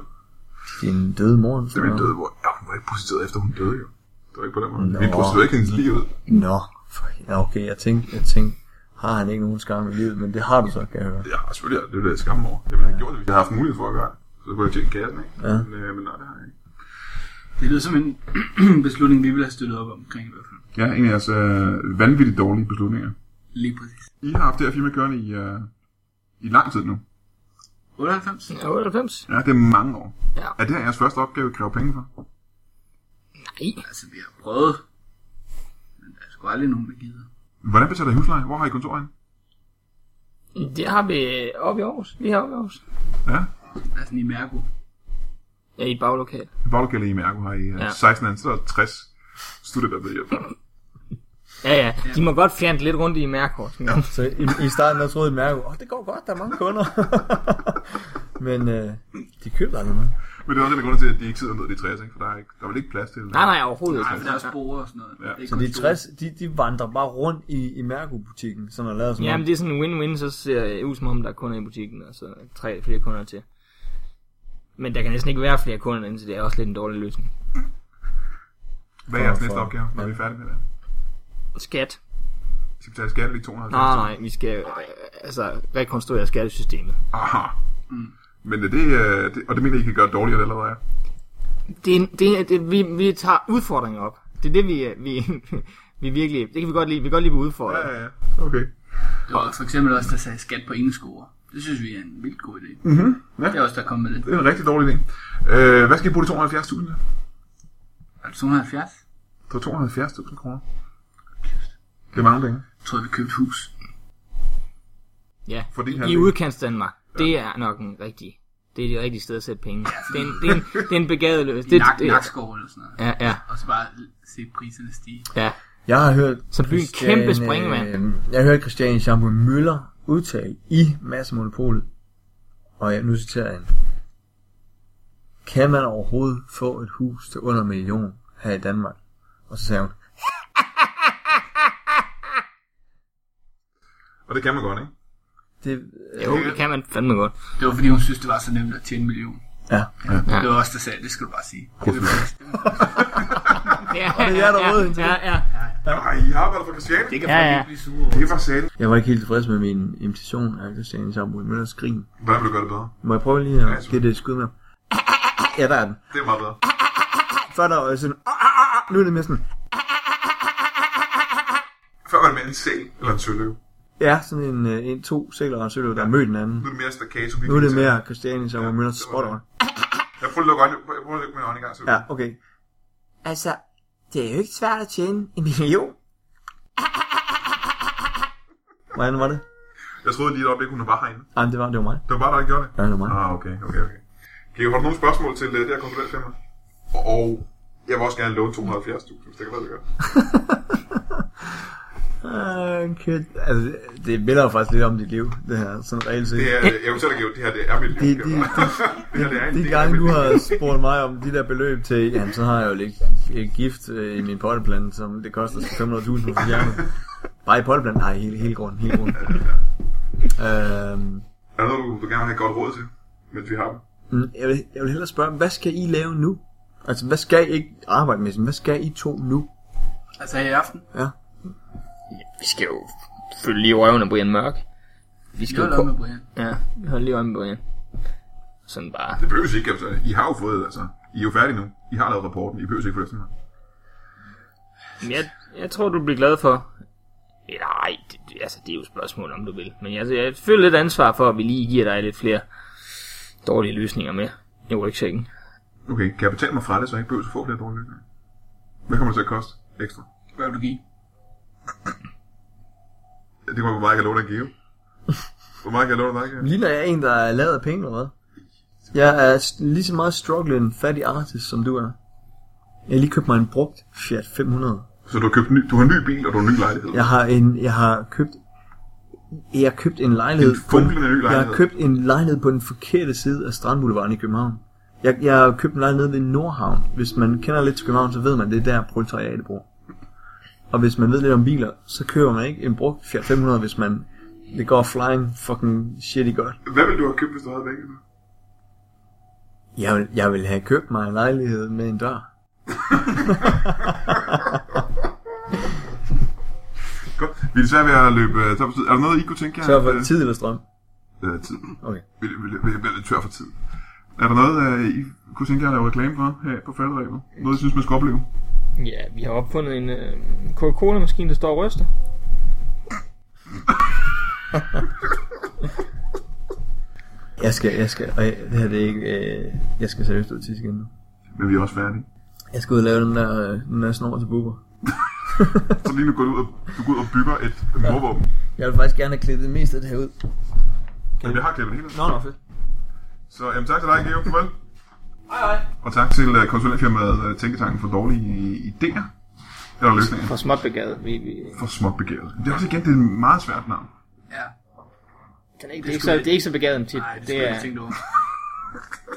S2: Din døde mor.
S1: Det er min døde mor. Ja, hun var ikke prostitueret efter hun døde jo. Det var ikke på den måde.
S2: Nå.
S1: Vi prostituerede ikke hendes liv ud.
S2: Nå, for, ja, okay, jeg tænkte, jeg tænkte, har han ikke nogen skam i livet, men det har du så, kan jeg høre.
S1: Ja, selvfølgelig. Det er det, jeg skammer mig over. Jeg ville have gjort det, hvis jeg havde haft mulighed for at gøre det. Så kunne jeg tjekke kassen, ikke?
S2: Ja.
S1: Men, øh, men nej, det har jeg ikke.
S3: Det lyder som en *clears throat* beslutning, vi ville have støttet op omkring i hvert fald.
S1: Ja, en af jeres øh, vanvittigt dårlige beslutninger.
S3: Lige præcis.
S1: I har haft det her firma kørende i, øh, i lang tid nu.
S3: 98?
S4: Ja, 98?
S1: Ja, det er mange år.
S4: Ja.
S1: Er det her jeres første opgave at kræve penge for?
S4: Nej.
S3: Altså, vi har prøvet. Men der er sgu aldrig nogen, der gider.
S1: Hvordan betaler I husleje? Hvor har I kontoret? henne?
S4: Det har vi øh, oppe i Aarhus. Lige heroppe i Aarhus.
S1: Ja,
S3: Der er sådan i Mærko.
S4: Ja, i et baglokal.
S1: i baglokalet i Mærko har I øh,
S4: Ja.
S1: 16 ansatte og 60 studerende, der hjælper.
S4: Ja, ja. De må godt fjerne lidt rundt i mærkort. Ja.
S2: Så i, i starten, der troede jeg, at oh, det går godt, der er mange kunder. *laughs* men øh, de køber aldrig noget.
S1: Men det er også en af grunde til, at de ikke sidder ned i de 60, ikke? for der er, ikke, der er vel ikke plads til det.
S4: Nej, nej, overhovedet
S3: Nej,
S4: ikke.
S3: for der er sporer og sådan noget.
S1: Ja.
S3: Det er ikke
S2: Så
S3: kun
S2: de
S3: store.
S2: 60, de, de vandrer bare rundt i, i Mærko-butikken, sådan og lader som
S4: Jamen,
S2: om.
S4: det er sådan en win-win, så ser det ud som om, der er kunder i butikken, og så tre flere kunder til. Men der kan næsten ikke være flere kunder, indtil det er også lidt en dårlig løsning.
S1: Hvad er jeres
S2: For-
S1: næste
S2: for-
S1: opgave, når vi er færdige med det?
S4: Skat?
S1: I skal betale skat lige 250.
S4: Nej, nej, vi skal øh, altså rekonstruere skattesystemet.
S1: Aha. Men er det, øh, det, og det mener I, I kan gøre dårligere, eller hvad?
S4: Det, er- det, er- det vi, vi tager udfordringer op. Det er det, vi, *laughs* øh, vi, vi virkelig... Det kan vi godt lide. Vi kan godt lide at blive
S1: Ja,
S4: udfordret.
S1: ja, ja. Okay.
S3: Det var for eksempel også, der sagde skat på indskoer. Det synes vi er en vildt god idé.
S1: Mhm. Ja,
S3: Det er også der kom med det.
S1: det er en rigtig dårlig idé. Øh, hvad skal I bruge de 270.000 til?
S3: Er det 270?
S1: Det var 270.000 kroner. Det er mange penge.
S3: Jeg tror, vi købte hus.
S4: Ja,
S1: Fordi han
S4: i
S1: vil-
S4: udkants Danmark. Det er nok en rigtig... Det er det rigtige sted at sætte penge. Det er en, det er en, det er en
S1: *laughs*
S4: begavet løsning.
S3: I
S4: Det,
S3: nak,
S4: det,
S3: nakskov eller sådan noget.
S4: ja, ja,
S3: Og så bare se priserne stige.
S4: ja.
S2: Jeg har hørt...
S4: Så bliver en
S2: Christian,
S4: kæmpe springvand.
S2: Øh, jeg har hørt Christian Schamburg Møller udtale i Mads Monopolet, og jeg, nu citerer jeg en. Kan man overhovedet få et hus til under en million her i Danmark? Og så sagde hun,
S1: Og det kan man godt, ikke?
S2: det, øh,
S4: Jo, det kan man fandme godt.
S3: Det var fordi, hun synes, det var så nemt at tjene en million.
S2: Ja.
S4: Ja.
S3: Det var også der sagde, det skal du bare sige. Det er det bedste.
S4: Ja,
S2: Og det er der
S4: ja,
S2: røde hensyn.
S4: ja, ja.
S1: Nej, I arbejder for Christiane.
S3: Det kan
S4: Ja,
S3: folk
S4: ja.
S3: ikke blive sure over.
S1: Det var satan.
S2: Jeg var ikke helt tilfreds med min invitation af Christian Schamburg Møllers grin.
S1: Hvordan vil du gøre det bedre?
S2: Må jeg prøve lige
S1: Ja,
S2: at
S1: selvfølgelig.
S2: give det et skud med? Ja, der er den.
S1: Det er meget bedre.
S2: Før der var sådan, "Ah, ah, ah." nu er det mere sådan,
S1: Før var det mere en sæl eller en søløv.
S2: ja, sådan en, øh, en to sæler og en sølv, der har mødt hinanden.
S1: Nu er det mere staccato.
S2: Nu er det mere Christian Schamburg Møllers
S1: det var
S2: spot on.
S1: Jeg prøver at lukke øjnene, jeg prøver at lukke mine øjne i gang. Så...
S2: Ja, okay.
S6: Altså, det er jo ikke svært at tjene en million.
S2: *laughs* Hvordan var det?
S1: Jeg troede lige et øjeblik, hun var bare herinde.
S2: Ej, men det var, det var mig.
S1: Det var bare dig, der gjorde det.
S2: Ja, det var mig.
S1: Ah, okay, okay, okay. Geo, har du nogle spørgsmål til uh, det her konsulentfirma? Og jeg vil også gerne låne 270.000, hvis det kan være det gør.
S2: Ah, kæft. Altså, det- det minder jo faktisk lidt om dit liv, det her, sådan reelt set.
S1: Det
S2: *laughs*
S1: er, jeg fortæller Geo, det her *laughs* det er mit liv.
S2: Det-
S1: Geo.
S2: det-
S1: det her det er en
S2: De
S1: del af
S2: gange
S1: mit
S2: du
S1: liv.
S2: har spurgt mig om de der beløb til, jamen så har jeg jo lidt et gift øh, i min potteplante, som det koster sgu 500.000 for hjernen. Bare i potteplanten? Nej, hele, hele grunden, hele
S1: *laughs*
S2: grunden. øhm,
S1: Er der noget, du, du gerne vil have et godt råd til, mens vi har dem?
S2: mm, jeg, vil, jeg vil hellere spørge, hvad skal I lave nu? Altså, hvad skal I ikke arbejde med? sådan, Hvad skal I to nu?
S3: Altså her i aften.
S4: Vi skal jo følge lige røven af Brian Mørk. Vi
S3: Vi
S4: skal
S3: holder
S4: jo
S3: op
S4: på...
S3: med Brian.
S4: Ja, vi holder lige øje med Brian. Sådan bare.
S1: Det behøves ikke, altså. I har jo fået, altså. I er jo færdige nu. I har lavet rapporten. I behøver ikke få det efter mig.
S4: Men jeg, jeg tror, du bliver glad for... Nej, det, det- altså, det er jo et spørgsmål, om du vil. Men jeg, jeg føler lidt ansvar for, at vi lige giver dig lidt flere dårlige løsninger med i rygsækken.
S1: Okay, kan jeg betale mig fra det, så jeg ikke behøver at få flere dårlige løsninger? Hvad kommer det til at koste ekstra?
S3: Hvad vil du give?
S1: Det kommer hvor meget jeg kan låne at
S2: *laughs*
S1: give. Hvor meget kan jeg låne dig? Geo?
S2: Ligner jeg en, der er lavet af penge eller hvad? Jeg er s- lige så meget struggling en fattig artist, som du er. Jeg har lige købt mig en brugt Fiat 500.
S1: Så du har købt ny, du har en ny bil, og du har en ny lejlighed.
S2: Jeg har en, jeg har købt, jeg har købt en lejlighed.
S1: En funklende ny
S2: Jeg
S1: lejlighed.
S2: har købt en lejlighed på den forkerte side af Strandboulevarden i København. Jeg, jeg har købt en lejlighed ved Nordhavn. Hvis man kender lidt til København, så ved man, det er der proletariatet bor. Og hvis man ved lidt om biler, så køber man ikke en brugt Fiat 500, hvis man det går flying fucking shitty godt.
S1: Hvad ville du have købt, hvis du havde penge?
S2: Jeg vil, jeg vil have købt mig en lejlighed med en dør.
S1: Godt. Vi er desværre ved at løbe øh, tør for tid. Er der noget, I kunne tænke jer?
S2: Tør for
S1: øh,
S2: tid eller strøm.
S1: Øh, tid.
S2: Okay.
S1: Vi, vi, vi, vi er lidt tør for tid. Er der noget, øh, I kunne tænke jer at lave reklame for her på faldrebet? Noget, I synes, man skal opleve?
S4: Ja, vi har opfundet en øh, Coca-Cola-maskine, der står og ryster.
S2: Jeg skal, jeg skal, og jeg, det her det er ikke, øh, jeg skal seriøst ud til igen nu.
S1: Men vi er også færdige.
S2: Jeg skal ud og lave den der, øh, den der snor til *laughs* buber.
S1: Så lige nu går du ud og, du går ud og bygger et morvåben.
S2: Jeg vil faktisk gerne have klippet det meste af det her ud.
S1: Jamen, jeg har klippet hele
S2: Nå, nå, fedt.
S1: Så jamen, tak til dig, Geo. Farvel. Hej, hej. Og tak til øh, konsulentfirmaet øh, Tænketanken for dårlige idéer. Eller løsninger.
S4: For småt begavet. Vi, vi,
S1: For småt begæret. Det er også igen, det er et meget svært navn.
S3: Ja.
S4: den er ikke, det, er ikke så, det er ikke så begavet en tit.
S3: Nej, det,
S4: det er,
S3: tænkt over.